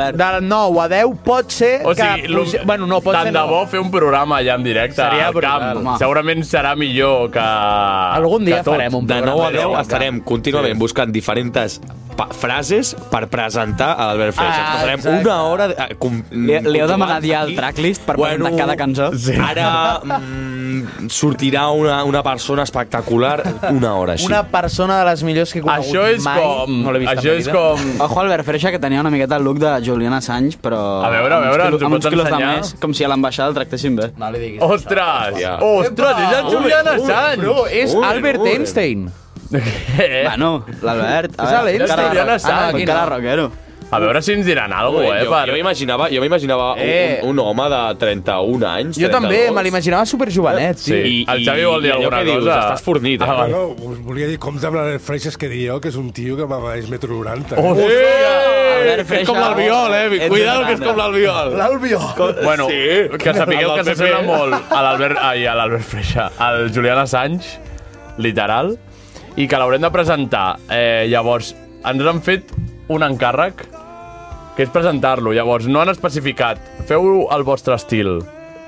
[SPEAKER 8] les- de les 9 a 10 pot ser
[SPEAKER 3] O
[SPEAKER 8] que...
[SPEAKER 3] sigui,
[SPEAKER 8] puja-
[SPEAKER 3] lo-
[SPEAKER 8] Bueno, no, pot
[SPEAKER 3] tant
[SPEAKER 8] ser
[SPEAKER 3] de
[SPEAKER 8] no.
[SPEAKER 3] bo fer un programa allà en directe
[SPEAKER 8] Seria
[SPEAKER 3] al camp.
[SPEAKER 8] brutal. Home.
[SPEAKER 3] Segurament serà millor que... Algun
[SPEAKER 9] De 9 a 10 estarem contínuament buscant diferents pa- frases per presentar a l'Albert Freixa.
[SPEAKER 12] Ah,
[SPEAKER 9] Ah, Passarem
[SPEAKER 12] exacte.
[SPEAKER 9] una hora... De, eh, com,
[SPEAKER 12] Li- li heu demanat ja el tracklist per presentar cada cançó?
[SPEAKER 9] Sí. Ara mm, sortirà una, una persona espectacular una hora així.
[SPEAKER 8] Una persona de les millors que he conegut
[SPEAKER 9] Això és
[SPEAKER 8] mai.
[SPEAKER 9] com-
[SPEAKER 8] No l'he vist en
[SPEAKER 9] això
[SPEAKER 8] la
[SPEAKER 9] és
[SPEAKER 8] vida.
[SPEAKER 9] com-
[SPEAKER 12] Ojo Albert Freixa, que tenia una miqueta el look de Julian Assange, però...
[SPEAKER 3] A veure, a
[SPEAKER 12] amb uns
[SPEAKER 3] veure,
[SPEAKER 12] quilos-
[SPEAKER 3] ens ho
[SPEAKER 12] amb uns
[SPEAKER 3] pots
[SPEAKER 12] quilos de
[SPEAKER 3] ensenyar?
[SPEAKER 12] Més, com si a l'ambaixada el tractessin bé.
[SPEAKER 8] No li diguis
[SPEAKER 3] Ostres! Ostres, és el Julian Assange!
[SPEAKER 8] Bro, és Albert
[SPEAKER 12] eh?
[SPEAKER 8] Einstein.
[SPEAKER 12] Bueno, Ah, l'Albert...
[SPEAKER 8] És
[SPEAKER 12] a veure,
[SPEAKER 8] l'Einstein,
[SPEAKER 12] cara-
[SPEAKER 8] Julian
[SPEAKER 12] Ah,
[SPEAKER 8] Assange.
[SPEAKER 12] no, cara rockero.
[SPEAKER 3] A veure si ens diran alguna cosa, eh?
[SPEAKER 9] jo, jo m'imaginava, jo m'imaginava
[SPEAKER 8] Eh.
[SPEAKER 9] un, un home de 31 anys.
[SPEAKER 8] Jo també,
[SPEAKER 9] 32.
[SPEAKER 8] me l'imaginava superjovenet, tio.
[SPEAKER 9] i allò que dius, Estàs fornit, eh?
[SPEAKER 15] Ah, no, us volia dir com d'Albert Freixas que dic jo, que és un tio que m'agrada metro eh? 90.
[SPEAKER 3] Oh, sí!
[SPEAKER 9] Albert Freixa. És com l'Albiol, eh? Ets Cuidado, que és com l'Albiol.
[SPEAKER 15] L'Albiol.
[SPEAKER 3] Bueno,
[SPEAKER 9] Sí.
[SPEAKER 3] que sapigueu
[SPEAKER 9] El
[SPEAKER 3] que
[SPEAKER 9] del
[SPEAKER 3] s'assembla
[SPEAKER 9] PP.
[SPEAKER 3] molt a l'Albert... Ai, a l'Albert Freixa. Al Julián Assange, literal, i que l'haurem de presentar. Eh, llavors, ens han fet un encàrrec, que és presentar-lo. Llavors, no han especificat. Feu al vostre estil.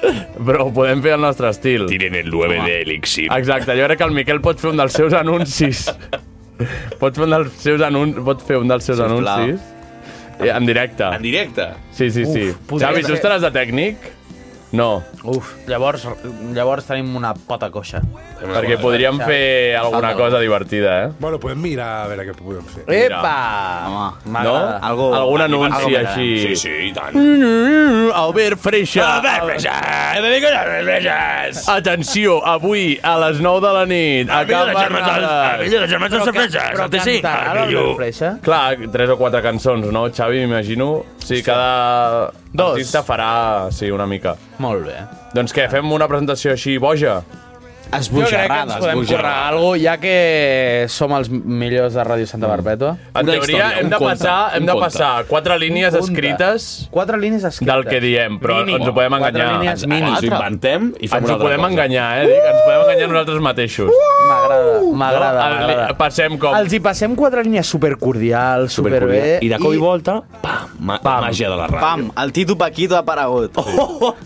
[SPEAKER 3] Però ho podem fer al nostre estil. Tiren el 9 de elixir. Exacte, jo crec que el Miquel pot fer un dels seus anuncis. Pots fer un dels seus, anun pots fer un dels seus
[SPEAKER 9] Sisplau.
[SPEAKER 3] anuncis. Eh, En directe.
[SPEAKER 9] En directe?
[SPEAKER 3] Sí, sí, sí.
[SPEAKER 8] Uf, podria
[SPEAKER 3] Xavi, tu
[SPEAKER 8] ser.
[SPEAKER 3] estaràs de tècnic? No.
[SPEAKER 8] Uf, llavors, llavors tenim una pota coixa.
[SPEAKER 3] Perquè podríem fer alguna cosa divertida, eh?
[SPEAKER 15] Bueno, podem mirar a veure què podem fer.
[SPEAKER 8] Epa!
[SPEAKER 3] No? Algú, Algun anunci així.
[SPEAKER 9] Sí, sí, i tant.
[SPEAKER 3] Albert Freixa.
[SPEAKER 9] Albert Freixa, benvingut Albert Freixas.
[SPEAKER 3] Atenció, avui a les 9 de la nit.
[SPEAKER 8] Ah,
[SPEAKER 3] A
[SPEAKER 9] millor
[SPEAKER 3] Can
[SPEAKER 9] de germans del-
[SPEAKER 3] Bernades.
[SPEAKER 9] el millor de germans dels
[SPEAKER 3] Però que-
[SPEAKER 9] Freixas,
[SPEAKER 3] però
[SPEAKER 9] el TC,
[SPEAKER 3] cantarà
[SPEAKER 9] el
[SPEAKER 3] l'Albert
[SPEAKER 9] millor.
[SPEAKER 8] Freixa?
[SPEAKER 3] Clar, tres o quatre cançons, no, Xavi, m'imagino? Sí, cada Dos. artista farà, sí, una mica.
[SPEAKER 8] Molt bé.
[SPEAKER 3] Doncs què, fem una presentació així boja?
[SPEAKER 8] Jo crec que ens podem currar alguna cosa, ja que som els millors de Ràdio
[SPEAKER 3] Mm.
[SPEAKER 8] Santa Barbètua.
[SPEAKER 3] En teoria hem de passar, hem de passar quatre línies
[SPEAKER 8] Un conte.
[SPEAKER 3] escrites
[SPEAKER 8] Quatre línies escrites.
[SPEAKER 3] del que diem, però
[SPEAKER 8] Mínim.
[SPEAKER 3] ens ho podem
[SPEAKER 8] Quatre
[SPEAKER 3] enganyar.
[SPEAKER 8] línies mínim.
[SPEAKER 3] Ens ho
[SPEAKER 9] inventem i fem
[SPEAKER 3] ens
[SPEAKER 9] una
[SPEAKER 3] ho
[SPEAKER 9] altra
[SPEAKER 3] podem
[SPEAKER 9] cosa.
[SPEAKER 3] enganyar, eh? Dic, ens podem enganyar nosaltres mateixos.
[SPEAKER 8] M'agrada, m'agrada,
[SPEAKER 3] No, el-
[SPEAKER 8] m'agrada.
[SPEAKER 3] Passem com...
[SPEAKER 8] Uh! Els hi passem quatre línies supercordials, superbé.
[SPEAKER 9] Supercordial. I de cop i volta, pam, ma pam. màgia de la ràdio. Oh.
[SPEAKER 12] Pam, el Tito Paquito ha aparegut.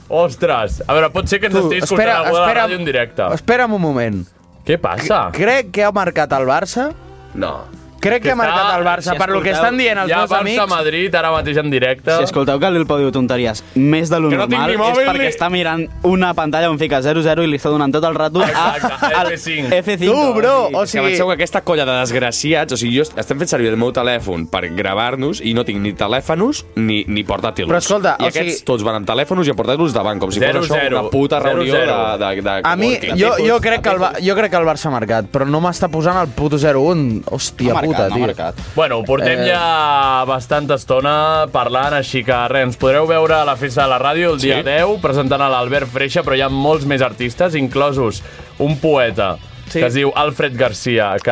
[SPEAKER 3] Ostres! A veure, pot ser que ens
[SPEAKER 8] Tu,
[SPEAKER 3] estiguis
[SPEAKER 8] espera,
[SPEAKER 3] escoltant algú de la
[SPEAKER 8] espera.
[SPEAKER 3] ràdio en directe. Ah.
[SPEAKER 8] Espera'm un moment.
[SPEAKER 3] Què passa?
[SPEAKER 8] Crec que ha marcat el Barça
[SPEAKER 9] No.
[SPEAKER 8] Crec que, ha marcat el Barça, per lo que estan dient els meus amics.
[SPEAKER 3] Madrid, ara mateix en directe.
[SPEAKER 12] Si escolteu que Lil Pau diu tonteries més de lo
[SPEAKER 3] Que no
[SPEAKER 12] normal
[SPEAKER 3] tingui
[SPEAKER 12] és
[SPEAKER 3] mòbil
[SPEAKER 12] perquè
[SPEAKER 3] ni-
[SPEAKER 12] està mirant una pantalla on fica 00 i li està donant tot el rato
[SPEAKER 3] Ah,
[SPEAKER 12] a, al
[SPEAKER 3] F5.
[SPEAKER 12] F5.
[SPEAKER 9] o sigui... Penseu que aquesta colla de desgraciats... O sigui, jo est- estem fent servir el meu telèfon per gravar-nos i no tinc ni telèfonos ni, ni portàtils.
[SPEAKER 8] Però escolta,
[SPEAKER 9] I
[SPEAKER 8] o
[SPEAKER 9] aquests
[SPEAKER 8] sigui-
[SPEAKER 9] tots van amb telèfonos i amb portàtils davant, com si
[SPEAKER 3] Zero,
[SPEAKER 9] fos això
[SPEAKER 3] zero.
[SPEAKER 9] una puta
[SPEAKER 3] Zero,
[SPEAKER 9] reunió
[SPEAKER 3] zero.
[SPEAKER 9] de, de, de...
[SPEAKER 8] A mi,
[SPEAKER 9] coworking.
[SPEAKER 8] jo, jo, crec que el, Ba- jo crec que el Barça ha marcat, però no m'està posant el puto 0-1. Hòstia
[SPEAKER 3] marcat,
[SPEAKER 8] puta,
[SPEAKER 3] no ha
[SPEAKER 8] tio.
[SPEAKER 3] marcat. Bueno, ho portem
[SPEAKER 8] Eh.
[SPEAKER 3] eh... ja bastanta estona parlant, així que res, ens podreu veure a la festa de la ràdio el dia
[SPEAKER 8] Sí.
[SPEAKER 3] 10 presentant a l'Albert Freixa, però hi ha molts més artistes, inclosos un poeta sí. que es diu Alfred Garcia, que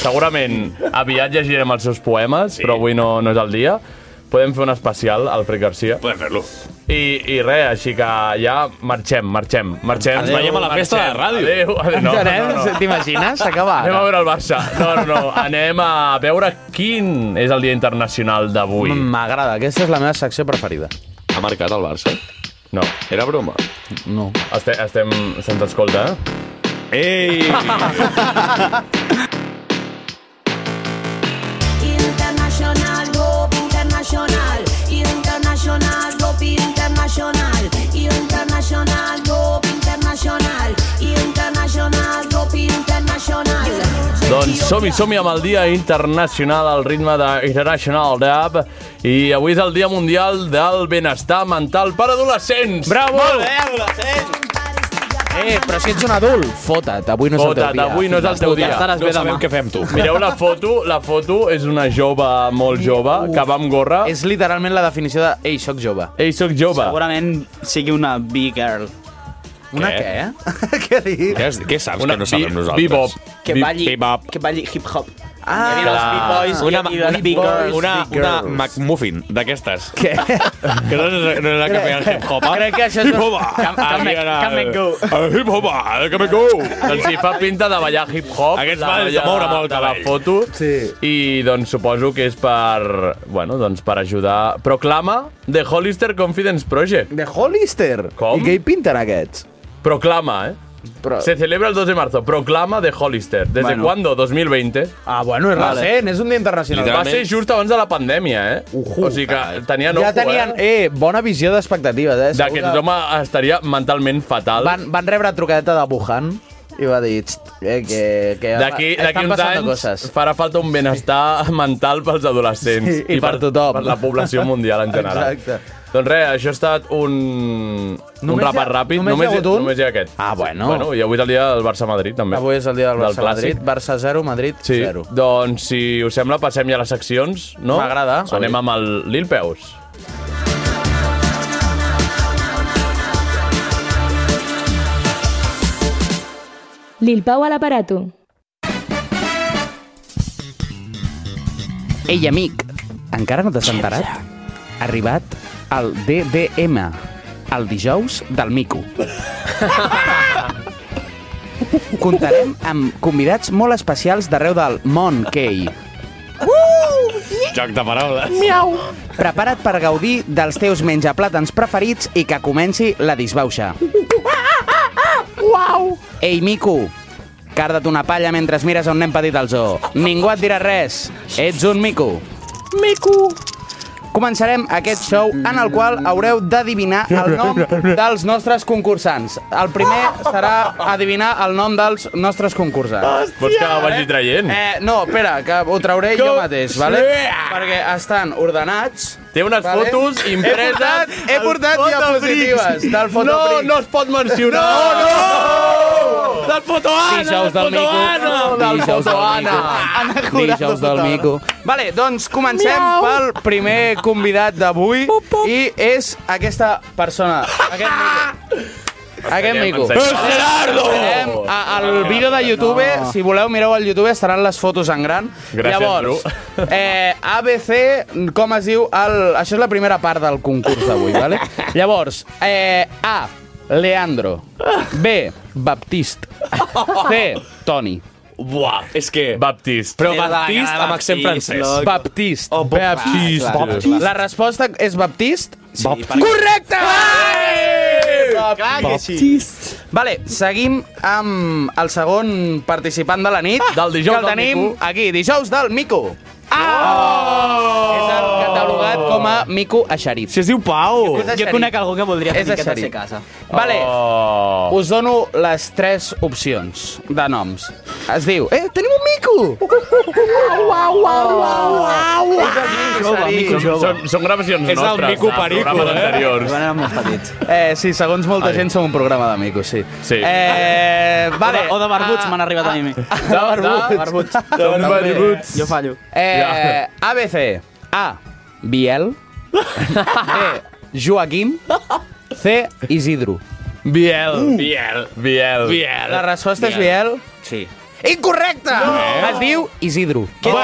[SPEAKER 3] segurament aviat llegirem els seus poemes, sí. però avui no, no és el dia. Podem fer un especial, Alfred Garcia.
[SPEAKER 9] Podem fer-lo.
[SPEAKER 3] I, I res, així que ja marxem, marxem, marxem.
[SPEAKER 9] Ens veiem a la festa de la ràdio.
[SPEAKER 3] Adéu, adéu. No,
[SPEAKER 8] Anem,
[SPEAKER 3] no, no.
[SPEAKER 8] T'imagines? S'acaba
[SPEAKER 3] Anem
[SPEAKER 8] ara.
[SPEAKER 3] a veure el Barça. No, no, no. Anem a veure quin és el dia internacional d'avui.
[SPEAKER 8] Mm,
[SPEAKER 9] Mm.
[SPEAKER 8] M'agrada, aquesta és la meva secció preferida.
[SPEAKER 9] Ha marcat el Barça?
[SPEAKER 3] No.
[SPEAKER 9] Era broma?
[SPEAKER 8] No.
[SPEAKER 3] Estem, estem, se'ns escolta, eh?
[SPEAKER 9] Ei!
[SPEAKER 16] Internacional, Bob Internacional, Internacional, Bob Internacional, Internacional, Bob Internacional, Internacional, Bob Internacional.
[SPEAKER 3] Doncs som-hi, som-hi amb el Dia Internacional al ritme de International Dab i avui és el Dia Mundial del Benestar Mental per Adolescents.
[SPEAKER 8] Bravo!
[SPEAKER 3] Molt bé!
[SPEAKER 8] Eh, però si ets un adult, fota't, avui no és el teu
[SPEAKER 3] Fota't,
[SPEAKER 8] dia.
[SPEAKER 3] avui no és el teu dia.
[SPEAKER 9] No sabem què fem, tu.
[SPEAKER 3] Mireu la foto, la foto és una jove molt jove que va amb gorra.
[SPEAKER 8] És literalment la definició de ei, sóc jove.
[SPEAKER 3] Ei, sóc jove.
[SPEAKER 12] Segurament sigui una B-girl.
[SPEAKER 8] Una
[SPEAKER 12] què?
[SPEAKER 8] què dius?
[SPEAKER 9] Què, has- què saps
[SPEAKER 12] Una
[SPEAKER 9] que no sabem
[SPEAKER 12] bi-
[SPEAKER 9] nosaltres?
[SPEAKER 12] bebop.
[SPEAKER 9] Que balli,
[SPEAKER 12] Bebop. que balli hip-hop.
[SPEAKER 8] Ah,
[SPEAKER 12] Boys
[SPEAKER 9] una,
[SPEAKER 12] i- i les
[SPEAKER 9] una,
[SPEAKER 12] Big Girls.
[SPEAKER 9] una,
[SPEAKER 12] Big
[SPEAKER 9] una
[SPEAKER 12] Girls.
[SPEAKER 9] McMuffin d'aquestes. Què? Que no és, no és la que feia el hip-hop, eh?
[SPEAKER 8] Crec que això és-
[SPEAKER 9] Hip-hop! Ah,
[SPEAKER 8] Come- come and- come and go.
[SPEAKER 9] Hip-hop! Come and go!
[SPEAKER 3] Doncs sí, fa pinta de ballar hip-hop.
[SPEAKER 9] Oh! Aquests
[SPEAKER 3] de
[SPEAKER 9] balls de
[SPEAKER 3] ballar-
[SPEAKER 9] moure molt el
[SPEAKER 3] de la
[SPEAKER 9] cabell.
[SPEAKER 3] foto. Sí. I doncs suposo que és per, bueno, doncs per ajudar. Proclama The Hollister Confidence Project.
[SPEAKER 8] De Hollister? Com? I què hi pinten aquests?
[SPEAKER 3] Proclama, eh?
[SPEAKER 8] Pro-
[SPEAKER 3] Se celebra el 2 de marzo. Proclama de Hollister. ¿Desde
[SPEAKER 8] Bueno.
[SPEAKER 3] cuándo? 2020.
[SPEAKER 8] Ah, bueno, és
[SPEAKER 3] Vale.
[SPEAKER 8] recent, és un dia internacional.
[SPEAKER 3] Va ser just abans de la pandèmia, eh? o sigui que tenien
[SPEAKER 8] ja
[SPEAKER 3] ojo,
[SPEAKER 8] tenien,
[SPEAKER 3] eh?
[SPEAKER 8] eh, bona visió d'expectatives, eh?
[SPEAKER 3] De que tothom estaria mentalment fatal.
[SPEAKER 8] Van, van rebre trucadeta de Wuhan i va dir "Txt, eh, que, que
[SPEAKER 3] D'aquí d'aquí
[SPEAKER 8] estan
[SPEAKER 3] uns
[SPEAKER 8] passant
[SPEAKER 3] anys
[SPEAKER 8] coses.
[SPEAKER 3] farà falta un benestar mental pels adolescents.
[SPEAKER 8] Sí, i per tothom.
[SPEAKER 3] Per la població mundial en general.
[SPEAKER 8] Exacte.
[SPEAKER 3] Doncs res, això ha estat un, un
[SPEAKER 8] Només hi ha-
[SPEAKER 3] repàs ràpid.
[SPEAKER 8] només hi ha hagut un?
[SPEAKER 3] Només hi ha aquest. Ah,
[SPEAKER 8] bueno.
[SPEAKER 3] bueno I avui és el dia del Barça-Madrid, també.
[SPEAKER 8] Avui és el dia del
[SPEAKER 3] clàssic.
[SPEAKER 8] Barça-Madrid. Barça 0, Madrid
[SPEAKER 3] Sí,
[SPEAKER 8] 0.
[SPEAKER 3] doncs si us sembla passem ja a les seccions, no?
[SPEAKER 8] M'agrada.
[SPEAKER 3] Anem amb el Lil Peus.
[SPEAKER 1] Lil Pau a l'aparato.
[SPEAKER 8] Ei, amic, encara no t'has enterat? Ha arribat el DDM, el dijous del Mico. Comptarem amb convidats molt especials d'arreu del món, Kei.
[SPEAKER 9] Joc de paraules.
[SPEAKER 8] Miau. Prepara't per gaudir dels teus menjaplàtans preferits i que comenci la disbauxa. Uau! Ei, mico, carda't una palla mentre mires on nen petit al zoo. Ningú et dirà res. Ets un mico. Mico. Començarem aquest show en el qual haureu d'adivinar el nom dels nostres concursants. El primer serà adivinar el nom dels nostres concursants.
[SPEAKER 3] Vols que ho vagi traient?
[SPEAKER 8] Eh, no, espera, que ho trauré jo mateix, vale? Perquè estan ordenats...
[SPEAKER 3] Té unes fotos impreses al
[SPEAKER 8] He portat, he portat
[SPEAKER 3] Fotobricks.
[SPEAKER 8] diapositives del
[SPEAKER 3] No,
[SPEAKER 8] Fotobricks.
[SPEAKER 3] no es pot mencionar. No, no! Del Fotoana,
[SPEAKER 8] Dijous
[SPEAKER 3] del
[SPEAKER 8] del Mico.
[SPEAKER 3] Fotoana, del
[SPEAKER 8] Dijous del
[SPEAKER 3] Fotoana.
[SPEAKER 8] Mico. Dijous del Mico. Vale, doncs comencem
[SPEAKER 3] Miau.
[SPEAKER 8] pel primer convidat d'avui i és aquesta persona, aquest mico. Aquest
[SPEAKER 7] Esperem,
[SPEAKER 8] mico.
[SPEAKER 7] ens esperem. És Gerardo!
[SPEAKER 8] Ah! Esperem a, al vídeo de YouTube,
[SPEAKER 7] No.
[SPEAKER 8] si voleu mireu al YouTube, estaran les fotos en gran.
[SPEAKER 7] Gràcies,
[SPEAKER 8] Llavors, eh, ABC, com es diu? El... Això és la primera part del concurs d'avui, vale? Llavors, eh, A, Leandro. B, Baptist. C, Toni.
[SPEAKER 9] Buah, és que...
[SPEAKER 3] Baptist.
[SPEAKER 9] Però Baptist amb accent francès.
[SPEAKER 8] Baptist. Oh,
[SPEAKER 9] Baptist. Baptist.
[SPEAKER 8] La resposta és Baptist? Sí,
[SPEAKER 9] perquè-
[SPEAKER 8] Correcte!
[SPEAKER 9] Clar que sí. Baptist.
[SPEAKER 8] Vale, seguim amb el segon participant de la nit. Ah! Del
[SPEAKER 3] dijous
[SPEAKER 8] que el
[SPEAKER 3] del
[SPEAKER 8] tenim
[SPEAKER 3] Mico.
[SPEAKER 8] aquí, dijous del Mico. Ah! És el catalogat com a Mico Eixerit. Si es diu Pau.
[SPEAKER 14] Jo conec algú que voldria fer
[SPEAKER 8] És
[SPEAKER 14] miqueta ser
[SPEAKER 8] Eixerit.
[SPEAKER 14] casa.
[SPEAKER 8] Vale, us dono les tres opcions de noms. Es diu... Eh, tenim un mico! Uau, uau, uau, uau, uau!
[SPEAKER 3] Són, són, són gravacions
[SPEAKER 8] És el
[SPEAKER 3] nostres.
[SPEAKER 8] Mico
[SPEAKER 3] de
[SPEAKER 8] Perico,
[SPEAKER 3] programes
[SPEAKER 8] eh?
[SPEAKER 3] anteriors.
[SPEAKER 8] Van anar molt petits. Eh, sí, segons molta gent som un programa de micos, sí. sí. Eh, vale. ah,
[SPEAKER 14] O de barbuts, m'han arribat a mi.
[SPEAKER 8] De barbuts. De barbuts.
[SPEAKER 14] També.
[SPEAKER 8] barbuts.
[SPEAKER 14] Jo fallo.
[SPEAKER 8] Eh, ABC. A. Biel. B. Joaquim. C. Isidro. Biel.
[SPEAKER 3] Biel. Uh. Biel. Biel.
[SPEAKER 8] La resposta és Biel?
[SPEAKER 14] Sí.
[SPEAKER 8] Incorrecte! No. Es diu Isidro.
[SPEAKER 14] Què
[SPEAKER 8] Oh,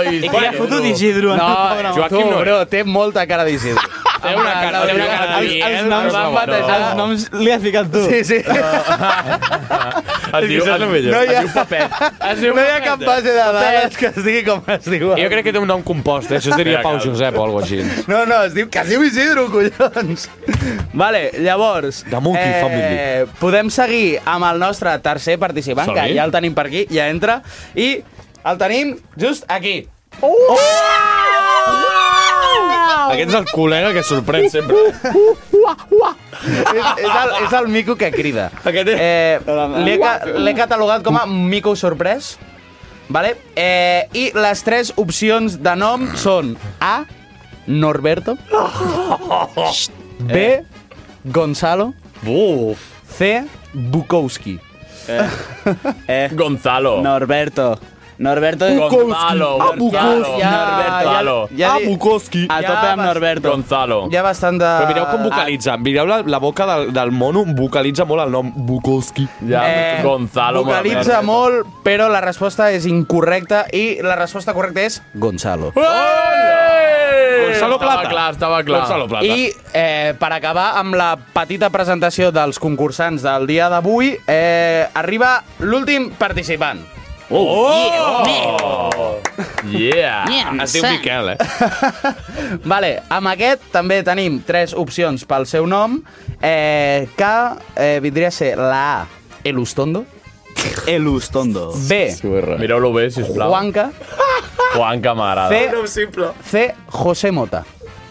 [SPEAKER 14] dius? I que hi ha fotut Isidro en
[SPEAKER 8] No,
[SPEAKER 14] el programa.
[SPEAKER 8] Joaquim
[SPEAKER 14] Tu,
[SPEAKER 8] no, bro, té molta cara d'Isidro.
[SPEAKER 14] Té una cara, té una cara de
[SPEAKER 8] Els- Els
[SPEAKER 14] Biel,
[SPEAKER 8] noms,
[SPEAKER 14] per
[SPEAKER 8] van
[SPEAKER 14] favor.
[SPEAKER 8] batejar.
[SPEAKER 14] Els noms li has ficat tu.
[SPEAKER 8] Sí, sí.
[SPEAKER 3] Es diu,
[SPEAKER 9] això és
[SPEAKER 3] es,
[SPEAKER 9] lo
[SPEAKER 3] no
[SPEAKER 9] millor.
[SPEAKER 8] No hi ha-
[SPEAKER 3] es diu Papet.
[SPEAKER 9] Es diu
[SPEAKER 8] no hi ha
[SPEAKER 9] Papet.
[SPEAKER 8] cap base de dades que es digui com es diu.
[SPEAKER 9] Jo crec que té un nom compost, eh? això seria
[SPEAKER 3] Mira,
[SPEAKER 9] Pau
[SPEAKER 3] cal.
[SPEAKER 9] Josep o alguna així.
[SPEAKER 8] No, no, es diu que es diu Isidro, collons. Vale, llavors... The
[SPEAKER 9] Monkey Family.
[SPEAKER 8] Podem seguir amb el nostre tercer participant,
[SPEAKER 9] Som-hi.
[SPEAKER 8] que ja el tenim per aquí, ja entra, i el tenim just aquí. Oh!
[SPEAKER 9] Aquest és el col·lega que sorprèn sempre.
[SPEAKER 8] És, és, el, és el mico que crida. Aquest és... Eh, L'he ca- l'he catalogat com a mico sorprès. Vale? Eh, I les tres opcions de nom són A, Norberto. B, Gonzalo. C, Bukowski.
[SPEAKER 14] Eh.
[SPEAKER 3] Gonzalo.
[SPEAKER 14] Norberto. Norberto.
[SPEAKER 3] Gonzalo.
[SPEAKER 14] Ah, Bukowski.
[SPEAKER 8] Ja,
[SPEAKER 14] Norberto.
[SPEAKER 8] ja, ja, ja,
[SPEAKER 14] Bukowski. A tope amb Norberto.
[SPEAKER 3] Gonzalo.
[SPEAKER 8] ja bastant de...
[SPEAKER 9] Però mireu com vocalitza. Mireu la, la boca del, del mono, vocalitza molt el nom Bukowski.
[SPEAKER 3] Ja,
[SPEAKER 8] Eh,
[SPEAKER 3] Gonzalo.
[SPEAKER 8] Vocalitza molt, però la resposta és incorrecta i la resposta correcta és Gonzalo.
[SPEAKER 3] Ah! Gonzalo Plata. Eh, Estava clar, estava clar.
[SPEAKER 9] Gonzalo Plata.
[SPEAKER 8] I eh, per acabar amb la petita presentació dels concursants del dia d'avui, eh, arriba l'últim participant.
[SPEAKER 3] Oh! Yeah!
[SPEAKER 8] Yeah,
[SPEAKER 9] es diu
[SPEAKER 8] sí.
[SPEAKER 9] Miquel, eh?
[SPEAKER 8] Vale, amb aquest també tenim tres opcions pel seu nom, eh, que eh, vindria a ser la A, Elustondo,
[SPEAKER 14] Elustondo.
[SPEAKER 8] B,
[SPEAKER 3] Mireu-lo bé, sisplau.
[SPEAKER 8] Juanca,
[SPEAKER 3] Juanca m'agrada.
[SPEAKER 8] C, C, José Mota.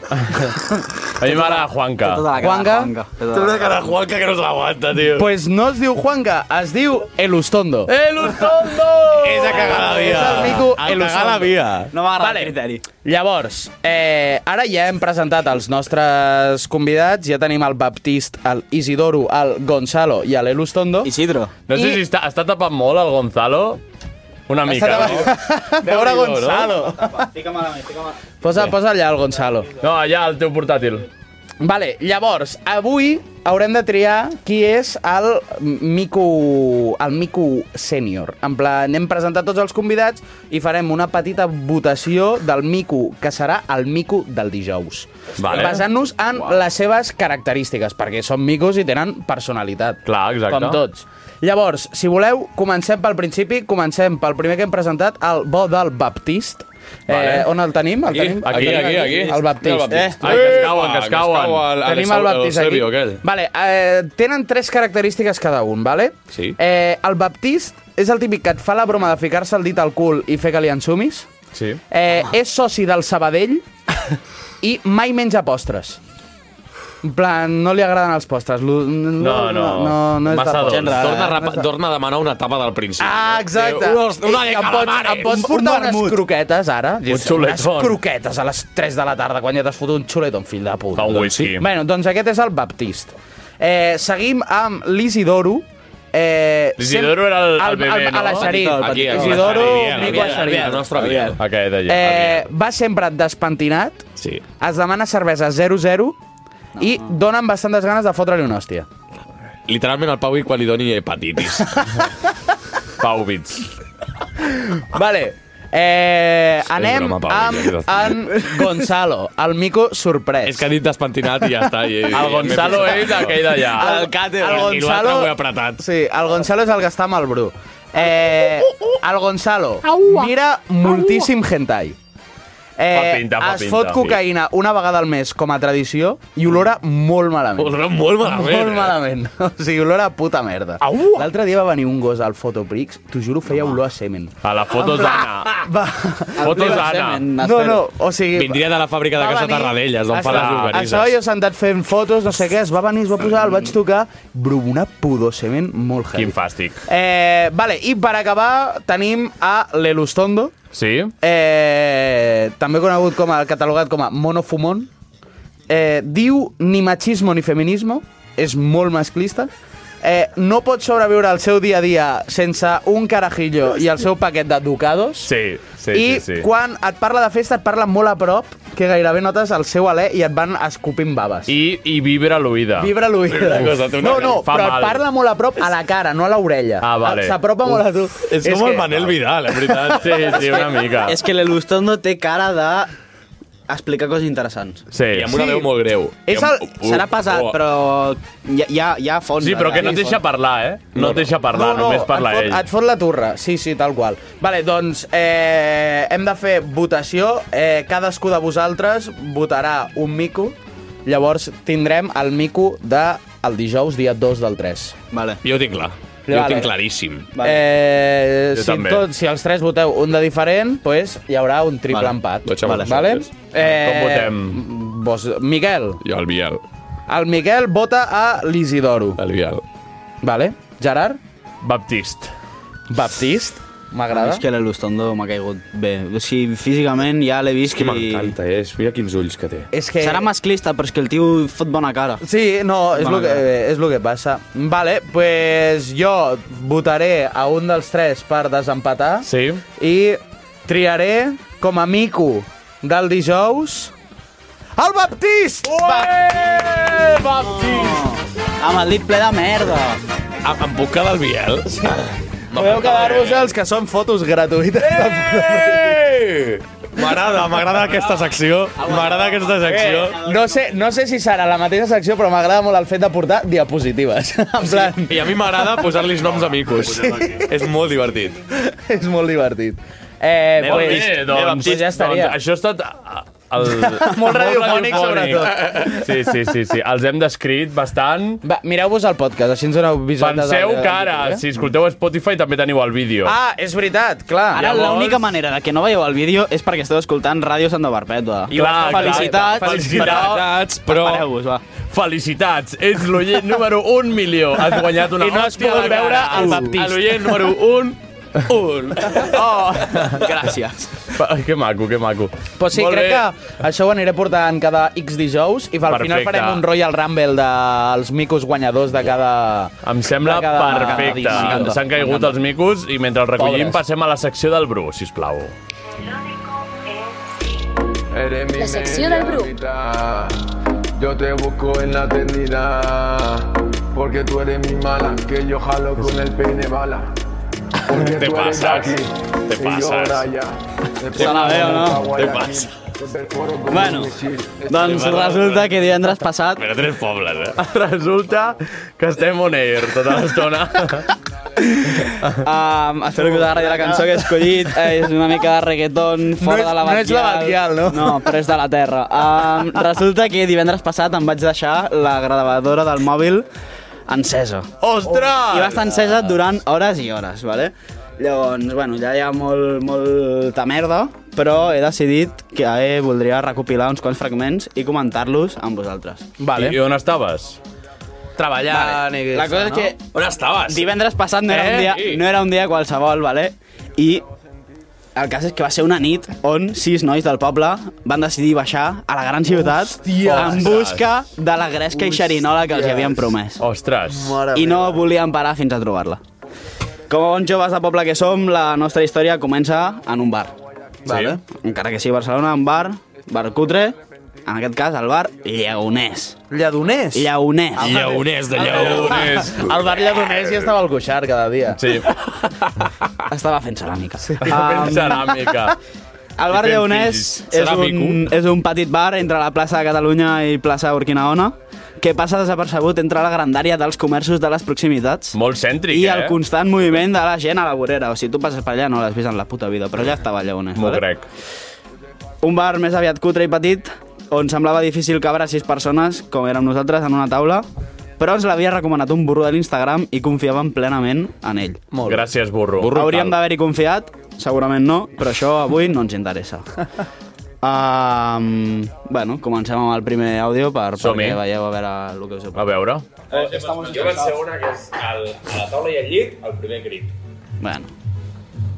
[SPEAKER 3] A mi m'agrada Juanca.
[SPEAKER 8] Tota Juanca?
[SPEAKER 3] Té una cara de Juanca que no s'aguanta, tio.
[SPEAKER 8] Pues no es diu Juanca, es diu Elustondo.
[SPEAKER 3] El Ustondo!
[SPEAKER 9] És a cagar la
[SPEAKER 8] És
[SPEAKER 9] via.
[SPEAKER 8] el mico
[SPEAKER 9] A
[SPEAKER 8] Elustondo.
[SPEAKER 9] cagar la via.
[SPEAKER 14] No m'agrada
[SPEAKER 8] Vale.
[SPEAKER 14] el criteri.
[SPEAKER 8] Llavors, eh, ara ja hem presentat els nostres convidats. Ja tenim el Baptist, el Isidoro, el Gonzalo i l'Elustondo.
[SPEAKER 14] Isidro.
[SPEAKER 3] No sé si està, està tapant molt el Gonzalo. Una mica, no?
[SPEAKER 8] Veure
[SPEAKER 3] Déu-n'hi-do,
[SPEAKER 8] Gonzalo.
[SPEAKER 14] Fica-me la mà, fica-me
[SPEAKER 8] Posa, posa allà el Gonzalo.
[SPEAKER 3] No, allà, el teu portàtil.
[SPEAKER 8] Vale, llavors, avui haurem de triar qui és el Mico, el Mico Sènior. En plan, hem presentat tots els convidats i farem una petita votació del Mico, que serà el Mico del dijous.
[SPEAKER 3] Vale.
[SPEAKER 8] Basant-nos en les seves característiques, perquè són micos i tenen personalitat.
[SPEAKER 3] Clar, exacte.
[SPEAKER 8] Com tots. Llavors, si voleu, comencem pel principi, comencem pel primer que hem presentat, el bo del Baptist.
[SPEAKER 3] Vale.
[SPEAKER 8] Eh, on el tenim? El
[SPEAKER 9] Aquí,
[SPEAKER 8] tenim?
[SPEAKER 9] aquí,
[SPEAKER 8] El tenim
[SPEAKER 9] aquí, aquí.
[SPEAKER 8] El Baptist.
[SPEAKER 9] Eh?
[SPEAKER 3] Ai, que es cauen, que es cauen.
[SPEAKER 8] Tenim el Baptist aquí.
[SPEAKER 9] Aquell.
[SPEAKER 8] Vale, eh, tenen tres característiques cada un, vale?
[SPEAKER 9] Sí.
[SPEAKER 8] Eh, el Baptist és el típic que et fa la broma de ficar-se el dit al cul i fer que li ensumis.
[SPEAKER 3] Sí.
[SPEAKER 8] Eh,
[SPEAKER 3] Ah.
[SPEAKER 8] és soci del Sabadell i mai menja postres. En plan, no li agraden els postres. Lo-
[SPEAKER 3] No, no.
[SPEAKER 8] no, no, no és
[SPEAKER 3] Massa
[SPEAKER 8] de
[SPEAKER 3] dolç.
[SPEAKER 8] postres.
[SPEAKER 3] Gent rara,
[SPEAKER 9] Torna, a
[SPEAKER 8] No és
[SPEAKER 9] rapa,
[SPEAKER 8] de-
[SPEAKER 9] torna a demanar una tapa del principi.
[SPEAKER 8] Ah, exacte.
[SPEAKER 9] Diu, Una, una de
[SPEAKER 8] em pots,
[SPEAKER 9] calamares.
[SPEAKER 8] em pots portar unes croquetes, ara? Dius, unes
[SPEAKER 3] xuletón.
[SPEAKER 8] croquetes a les 3 de la tarda quan ja t'has fotut un xuletón, fill de puta.
[SPEAKER 3] Fa un whisky.
[SPEAKER 8] Sí. Bueno, doncs aquest és el Baptist. Eh, seguim amb l'Isidoro. Eh,
[SPEAKER 3] L'Isidoro era el- el bebè,
[SPEAKER 8] el,
[SPEAKER 3] no?
[SPEAKER 8] el Eixerit.
[SPEAKER 3] Aquí, aquí.
[SPEAKER 8] Isidoro,
[SPEAKER 3] Ariel,
[SPEAKER 8] Mico
[SPEAKER 3] Ariel,
[SPEAKER 8] Eixerit.
[SPEAKER 9] El nostre aviat.
[SPEAKER 3] Aquest d'allà.
[SPEAKER 8] Eh, va sempre despentinat,
[SPEAKER 9] Sí.
[SPEAKER 8] es demana cervesa 0-0 i donen bastantes ganes de fotre-li una hòstia.
[SPEAKER 9] Literalment el Pau i quan li doni hepatitis.
[SPEAKER 3] Pau Bits.
[SPEAKER 8] Vale. Eh, anem
[SPEAKER 9] broma, Pau,
[SPEAKER 8] amb
[SPEAKER 9] ja està.
[SPEAKER 8] en Gonzalo, el mico sorprès.
[SPEAKER 9] és que ha dit despentinat i ja està. I,
[SPEAKER 3] El Gonzalo és aquell d'allà.
[SPEAKER 8] El-
[SPEAKER 9] càter.
[SPEAKER 8] el
[SPEAKER 9] I l'altre
[SPEAKER 8] Gonzalo-
[SPEAKER 9] ho he apretat.
[SPEAKER 8] Sí, el Gonzalo és el que està amb el Bru. Eh, el Gonzalo mira moltíssim hentai. Eh,
[SPEAKER 3] Fa pinta, fa
[SPEAKER 8] es
[SPEAKER 3] pinta,
[SPEAKER 8] fot
[SPEAKER 3] sí.
[SPEAKER 8] cocaïna una vegada al mes com a tradició i olora molt malament.
[SPEAKER 9] Olora molt malament,
[SPEAKER 8] Molt
[SPEAKER 9] eh?
[SPEAKER 8] malament. O sigui, olora a puta merda. L'altre dia va venir un gos al Fotoprix, t'ho juro, feia olor a semen.
[SPEAKER 3] A la foto
[SPEAKER 8] En plan-
[SPEAKER 3] d'Anna.
[SPEAKER 8] Va.
[SPEAKER 3] Fotos d'Anna.
[SPEAKER 8] No, no, o sigui...
[SPEAKER 9] Vindria de la fàbrica de
[SPEAKER 8] va
[SPEAKER 9] Casa
[SPEAKER 8] venir-
[SPEAKER 9] Tarradellas, d'on fa les
[SPEAKER 8] Estava-
[SPEAKER 9] llocanises.
[SPEAKER 8] Estava jo sentat fent fotos, no sé què, es va venir, es va posar, el vaig tocar, bro, una pudor semen molt heavy.
[SPEAKER 3] Quin fàstic.
[SPEAKER 8] Eh, vale, i per acabar tenim a l'Elustondo.
[SPEAKER 3] Sí.
[SPEAKER 8] Eh, també conegut com a, catalogat com a monofumón. Eh, diu ni machismo ni feminismo, és molt masclista. Eh, no pot sobreviure al seu dia a dia sense un carajillo i el seu paquet de ducados.
[SPEAKER 3] Sí, sí,
[SPEAKER 8] I
[SPEAKER 3] sí, sí.
[SPEAKER 8] quan et parla de festa et parla molt a prop, que gairebé notes el seu alè i et van escopint baves.
[SPEAKER 3] I, i vibra l'oïda.
[SPEAKER 8] Vibra l'oïda. No, no, però et parla molt a prop a la cara, no a l'orella.
[SPEAKER 3] Ah, vale.
[SPEAKER 8] S'apropa molt a tu.
[SPEAKER 9] És com el Manel Vidal, en veritat.
[SPEAKER 3] Sí, sí, una mica.
[SPEAKER 14] És que l'Elustondo té cara de explicar coses interessants.
[SPEAKER 3] Sí.
[SPEAKER 9] I amb una
[SPEAKER 14] Sí.
[SPEAKER 9] veu molt greu.
[SPEAKER 14] És el... Serà pesat,
[SPEAKER 9] oh.
[SPEAKER 14] però hi ha, hi ha, hi ha fons.
[SPEAKER 3] Sí, però que no et deixa parlar, eh? No et deixa parlar, només parla
[SPEAKER 8] et fot,
[SPEAKER 3] ell.
[SPEAKER 8] Et fot la turra, sí, sí, tal qual. Vale, doncs eh, hem de fer votació. Eh, cadascú de vosaltres votarà un mico. Llavors tindrem el mico de el dijous, dia 2 del 3.
[SPEAKER 14] Vale.
[SPEAKER 9] Jo ho tinc clar. Jo ho
[SPEAKER 8] Vale.
[SPEAKER 9] tinc claríssim.
[SPEAKER 8] Vale. Eh,
[SPEAKER 9] Jo
[SPEAKER 8] si,
[SPEAKER 9] també.
[SPEAKER 8] tot, si els tres voteu un de diferent, pues, hi haurà un triple
[SPEAKER 9] Vale.
[SPEAKER 8] empat.
[SPEAKER 9] Lo echamos
[SPEAKER 8] vale? Eh,
[SPEAKER 9] nosotros. Com votem?
[SPEAKER 8] Vos, Miquel.
[SPEAKER 9] Jo el Biel.
[SPEAKER 8] El Miquel vota a l'Isidoro.
[SPEAKER 9] El Biel.
[SPEAKER 8] Vale. Gerard?
[SPEAKER 3] Baptist.
[SPEAKER 8] Baptist? M'agrada.
[SPEAKER 14] És que l'Elustondo m'ha caigut bé. O sigui, físicament ja l'he vist...
[SPEAKER 9] Que m'encanta, eh? Mira quins ulls que té.
[SPEAKER 8] És que...
[SPEAKER 14] Serà masclista, però és que el tio fot bona cara.
[SPEAKER 8] Sí, no, és
[SPEAKER 14] Bona
[SPEAKER 8] lo, que, eh, és lo que passa. Vale, pues jo votaré a un dels tres per desempatar.
[SPEAKER 3] Sí.
[SPEAKER 8] I triaré com a mico del dijous el Baptist! Ué! Baptist!
[SPEAKER 14] Amb el dit ple de merda.
[SPEAKER 9] Em, em puc quedar el Biel? Sí.
[SPEAKER 8] Podeu quedar-vos els que són fotos gratuïtes.
[SPEAKER 3] Eh!
[SPEAKER 9] M'agrada, m'agrada aquesta secció. M'agrada aquesta secció.
[SPEAKER 8] No sé, no sé si serà la mateixa secció, però m'agrada molt el fet de portar diapositives. En plan,
[SPEAKER 9] I a mi m'agrada posar-los noms a micos. Sí. És molt divertit.
[SPEAKER 8] és molt divertit. Eh,
[SPEAKER 3] Anem
[SPEAKER 8] pues,
[SPEAKER 3] bé, doncs,
[SPEAKER 8] pues ja estaria.
[SPEAKER 3] Doncs, això ha estat... ah, El...
[SPEAKER 8] Molt radiofònic, sobretot.
[SPEAKER 3] Sí, sí, sí, sí. Els hem descrit bastant.
[SPEAKER 8] Va, mireu-vos el podcast, així ens doneu visualitat.
[SPEAKER 3] Penseu que ara,
[SPEAKER 8] eh?
[SPEAKER 3] si escolteu a Spotify, també teniu el vídeo.
[SPEAKER 8] Ah, és veritat, clar.
[SPEAKER 14] Ara
[SPEAKER 3] Llavors-
[SPEAKER 14] l'única manera de que no veieu el vídeo és perquè esteu escoltant Ràdio Santa Barpètua.
[SPEAKER 3] Clar, clar,
[SPEAKER 14] felicitats,
[SPEAKER 3] felicitats, però...
[SPEAKER 14] Apareu-vos, va.
[SPEAKER 3] Felicitats, ets l'oient número 1 milió. Has guanyat una
[SPEAKER 14] I no has
[SPEAKER 3] hòstia
[SPEAKER 14] pogut
[SPEAKER 3] a la cara.
[SPEAKER 14] veure el
[SPEAKER 3] Un.
[SPEAKER 14] Baptist.
[SPEAKER 3] A L'oient número 1, 1.
[SPEAKER 14] Oh, gràcies.
[SPEAKER 3] Que maco, que maco.
[SPEAKER 8] Però sí,
[SPEAKER 3] Molt
[SPEAKER 8] crec
[SPEAKER 3] bé.
[SPEAKER 8] que això ho aniré portant cada X dijous i al final
[SPEAKER 3] Perfecte.
[SPEAKER 8] farem un Royal Rumble dels micos guanyadors de cada...
[SPEAKER 3] Em sembla
[SPEAKER 8] De cada-
[SPEAKER 3] perfecte.
[SPEAKER 8] cada dia.
[SPEAKER 3] S'han caigut els micos i mentre els recollim
[SPEAKER 8] Pobres.
[SPEAKER 3] passem a la secció del Bru, si plau.
[SPEAKER 17] Eres mi
[SPEAKER 6] La secció del
[SPEAKER 17] media
[SPEAKER 6] Bru.
[SPEAKER 17] mitad. Yo te busco en la eternidad. Porque tú eres mi mala, que yo jalo con el peine bala. Porque
[SPEAKER 9] Te
[SPEAKER 17] tú eres
[SPEAKER 9] pasas,
[SPEAKER 17] aquí,
[SPEAKER 9] te
[SPEAKER 17] y yo
[SPEAKER 9] pasas.
[SPEAKER 17] Braya.
[SPEAKER 9] Te
[SPEAKER 17] pongo
[SPEAKER 14] la veo, ¿no?
[SPEAKER 17] una guaya
[SPEAKER 9] Te
[SPEAKER 17] aquí,
[SPEAKER 9] pasas.
[SPEAKER 17] te perforo con
[SPEAKER 14] Bueno,
[SPEAKER 17] un misil.
[SPEAKER 14] doncs
[SPEAKER 17] Este barro-
[SPEAKER 14] resulta que divendres passat...
[SPEAKER 9] Però tres pobles, eh?
[SPEAKER 3] Resulta que estem on air tota l'estona.
[SPEAKER 14] Um, espero que us agradi la cançó que he escollit. Eh, és una mica de reggaeton fora
[SPEAKER 8] No és-
[SPEAKER 14] de la
[SPEAKER 8] no
[SPEAKER 14] Batial.
[SPEAKER 8] és la Batial, no?
[SPEAKER 14] No, però és de la Terra. Um, resulta que divendres passat em vaig deixar la gravadora del mòbil encesa.
[SPEAKER 3] Ostres!
[SPEAKER 8] Oh.
[SPEAKER 14] I va estar encesa durant hores i hores, vale? Llavors, bueno, ja hi ha molt, molta merda, però he decidit que eh, voldria recopilar uns quants fragments i comentar-los amb vosaltres.
[SPEAKER 3] Vale. I on estaves?
[SPEAKER 8] Treballant i...
[SPEAKER 14] La cosa és que
[SPEAKER 9] On estaves?
[SPEAKER 14] Divendres passat no era,
[SPEAKER 9] Eh?
[SPEAKER 14] un dia,
[SPEAKER 9] Sí.
[SPEAKER 14] no era un dia qualsevol, vale? I el cas és que va ser una nit on sis nois del poble van decidir baixar a la gran ciutat
[SPEAKER 3] Hòsties.
[SPEAKER 14] en busca de la gresca i xerinola que els hi havien promès.
[SPEAKER 3] Ostres.
[SPEAKER 14] I no volien parar fins a trobar-la. Com a bons joves de poble que som, la nostra història comença en un bar. Vale? Encara que sigui Barcelona, un bar, bar cutre, en aquest cas el bar Lleonès.
[SPEAKER 8] Lladoners?
[SPEAKER 14] Lleonès.
[SPEAKER 9] Lleonès de Lleonès.
[SPEAKER 8] El bar Lladoners ja estava al coixar cada dia.
[SPEAKER 3] Sí.
[SPEAKER 14] Estava fent ceràmica. Sí,
[SPEAKER 3] fent ceràmica.
[SPEAKER 14] El bar
[SPEAKER 8] I fent
[SPEAKER 14] Lleonès
[SPEAKER 8] fills.
[SPEAKER 14] és un,
[SPEAKER 8] Ceràmico.
[SPEAKER 14] és un petit bar entre la plaça de Catalunya i plaça Urquinaona que passa desapercebut entre la grandària dels comerços de les proximitats
[SPEAKER 3] Molt cèntric,
[SPEAKER 14] i
[SPEAKER 3] eh?
[SPEAKER 14] el constant moviment de la gent a la vorera. O sigui, tu passes per allà, no l'has vist en la puta vida, però allà estava el Lleonès.
[SPEAKER 3] M'ho
[SPEAKER 14] vale?
[SPEAKER 3] crec.
[SPEAKER 8] Un bar més aviat cutre i petit, on semblava difícil cabre sis persones, com érem nosaltres, en una taula, però ens l'havia recomanat un burro de l'Instagram i confiàvem plenament en ell.
[SPEAKER 3] Molt. Gràcies, burro.
[SPEAKER 8] Hauríem d'haver-hi confiat, segurament no, però això avui no ens interessa. Um, bueno, comencem amb el primer àudio per, perquè veieu a veure el que us he
[SPEAKER 3] A veure.
[SPEAKER 18] Estamos jo vaig ser una que és al, a la taula i al llit, el primer crit.
[SPEAKER 8] Bueno.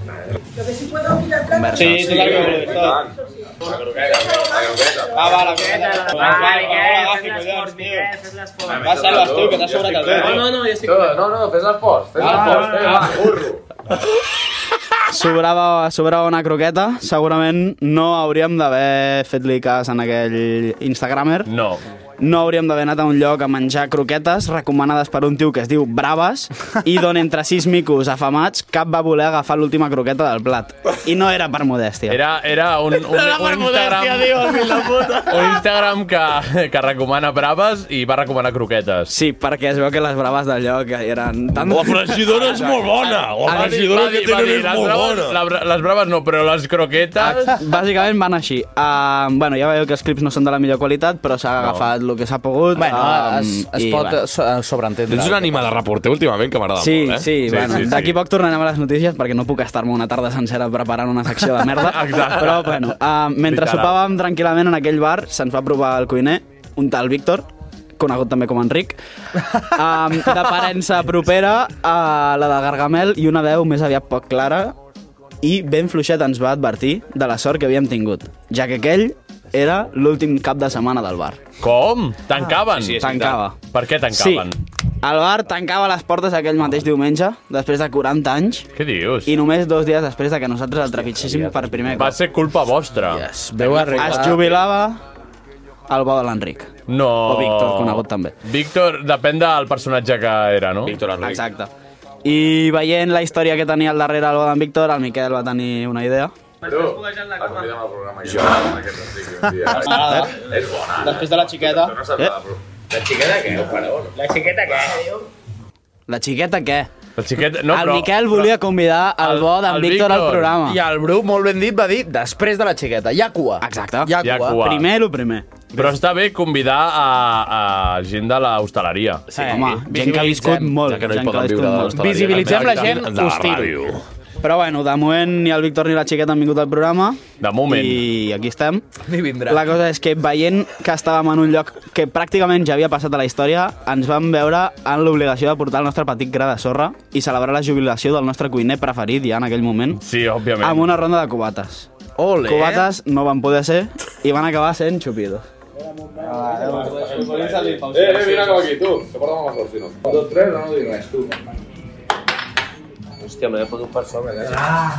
[SPEAKER 18] Lo que sí puedo mirar
[SPEAKER 8] Conversa. Sí,
[SPEAKER 18] sí,
[SPEAKER 8] totalment,
[SPEAKER 18] sí, tant. La croqueta, la croqueta. Ah, va, la croqueta.
[SPEAKER 19] Va,
[SPEAKER 18] Va,
[SPEAKER 19] va,
[SPEAKER 18] va,
[SPEAKER 19] Miquel,
[SPEAKER 18] va, collons,
[SPEAKER 19] fes l'esport,
[SPEAKER 18] tio.
[SPEAKER 19] Miquel, fes l'esport.
[SPEAKER 18] Va, salves tu, que t'has sobrat el verd.
[SPEAKER 19] No, no, no, jo estic
[SPEAKER 18] Tu,
[SPEAKER 19] content.
[SPEAKER 18] no, no, fes l'esforç, fes
[SPEAKER 19] Va,
[SPEAKER 18] l'esforç,
[SPEAKER 19] va,
[SPEAKER 18] eh,
[SPEAKER 19] va.
[SPEAKER 18] va, burro.
[SPEAKER 8] Sobrava, sobrava una croqueta, segurament no hauríem d'haver fet-li cas en aquell Instagramer.
[SPEAKER 3] No.
[SPEAKER 8] No hauríem d'haver anat a un lloc a menjar croquetes recomanades per un tio que es diu Braves i d'on entre sis micos afamats cap va voler agafar l'última croqueta del plat. I no era per modèstia.
[SPEAKER 3] Era, era un, un,
[SPEAKER 8] Era per
[SPEAKER 3] un Instagram...
[SPEAKER 8] modèstia, tio, el fill de puta.
[SPEAKER 3] Un Instagram que, que recomana braves i va recomanar croquetes.
[SPEAKER 8] Sí, perquè es veu que les braves del lloc eren tan...
[SPEAKER 3] La fregidora és molt bona,
[SPEAKER 8] Ah,
[SPEAKER 3] la
[SPEAKER 8] va
[SPEAKER 3] fregidora
[SPEAKER 8] dir-
[SPEAKER 3] que
[SPEAKER 8] va
[SPEAKER 3] tenen
[SPEAKER 8] dir,
[SPEAKER 3] és
[SPEAKER 8] les
[SPEAKER 3] molt bona.
[SPEAKER 8] braves-
[SPEAKER 3] La, bra- les braves no, però les croquetes...
[SPEAKER 9] Ah,
[SPEAKER 8] Bàsicament van així. Uh, bueno, ja veieu que els clips no són de la millor qualitat, però s'ha agafat el que s'ha pogut. ah,
[SPEAKER 2] Bueno,
[SPEAKER 8] em,
[SPEAKER 2] es- es pot, eh, so- sobreentendre.
[SPEAKER 9] Tens un ànima de reporter últimament que m'agrada
[SPEAKER 8] Sí,
[SPEAKER 9] molt, eh?
[SPEAKER 8] sí, sí, bueno, sí, d'aquí poc tornarem a les notícies perquè no puc estar-me una tarda sencera preparant una secció de merda.
[SPEAKER 9] Exacte.
[SPEAKER 8] Però, bueno, uh, mentre
[SPEAKER 9] Literal.
[SPEAKER 8] sopàvem tranquil·lament en aquell bar, se'ns va provar el cuiner, un tal Víctor, conegut també com Enric, um, d'aparença propera a la de Gargamel i una veu més aviat poc clara i ben fluixet ens va advertir de la sort que havíem tingut, ja que aquell era l'últim cap de setmana del bar.
[SPEAKER 3] Com? Tancaven?
[SPEAKER 8] Sí, sí, tancava.
[SPEAKER 3] Per què tancaven?
[SPEAKER 8] Sí. El bar tancava les portes aquell mateix diumenge, després de 40 anys.
[SPEAKER 3] Què dius?
[SPEAKER 8] I només dos dies després de que nosaltres el trepitgéssim per primer cop.
[SPEAKER 3] Va ser culpa vostra. Yes.
[SPEAKER 8] Veu es jubilava el bo de l'Enric.
[SPEAKER 3] No.
[SPEAKER 8] O Víctor, conegut també.
[SPEAKER 3] Víctor, depèn del personatge que era, no?
[SPEAKER 9] Víctor Enric.
[SPEAKER 8] Exacte. I veient la història que tenia al darrere el bo d'en Víctor, el Miquel va tenir una idea.
[SPEAKER 18] Jo. M'agrada. Eh? És bona.
[SPEAKER 8] Després de la xiqueta.
[SPEAKER 18] No saps nada, però- La xiqueta què? Ho fareu, no?
[SPEAKER 19] La xiqueta què?
[SPEAKER 8] La xiqueta què?
[SPEAKER 3] La xiqueta...
[SPEAKER 8] No, el Miquel volia convidar el, bo d'en Víctor al programa.
[SPEAKER 2] I el Bru, molt ben dit, va dir després de la xiqueta. Hi ha cua.
[SPEAKER 9] Ah,
[SPEAKER 8] Exacte.
[SPEAKER 2] Hi ha cua.
[SPEAKER 8] Primer, el primer.
[SPEAKER 3] Però està bé convidar a, a gent de l'hostaleria.
[SPEAKER 9] Eh,
[SPEAKER 2] Sí, home, gent que ha viscut
[SPEAKER 8] molt,
[SPEAKER 3] Eh, Ja que no hi
[SPEAKER 8] gent que ha
[SPEAKER 3] poden
[SPEAKER 8] viscut
[SPEAKER 3] viure de
[SPEAKER 8] molt.
[SPEAKER 3] l'hostaleria.
[SPEAKER 8] Visibilitzem la gent
[SPEAKER 3] De
[SPEAKER 8] hostil.
[SPEAKER 3] ràdio.
[SPEAKER 8] Però bueno, de moment ni el Víctor ni la xiqueta han vingut al programa.
[SPEAKER 3] De moment.
[SPEAKER 8] I aquí estem.
[SPEAKER 2] Ni vindrà.
[SPEAKER 8] La cosa és que veient que estàvem en un lloc que pràcticament ja havia passat a la història, ens vam veure en l'obligació de portar el nostre petit gra de sorra i celebrar la jubilació del nostre cuiner preferit ja en aquell moment.
[SPEAKER 3] Sí, òbviament.
[SPEAKER 8] Amb una ronda de cubates.
[SPEAKER 2] Ole.
[SPEAKER 8] Cubates no van poder ser i van acabar sent xupidos.
[SPEAKER 18] Eh, eh, mira com aquí, tu, que porta molt sort, si no. Un, dos, tres, no, no dic res, tu. Hòstia, me l'he fotut per sobre, eh? Ah!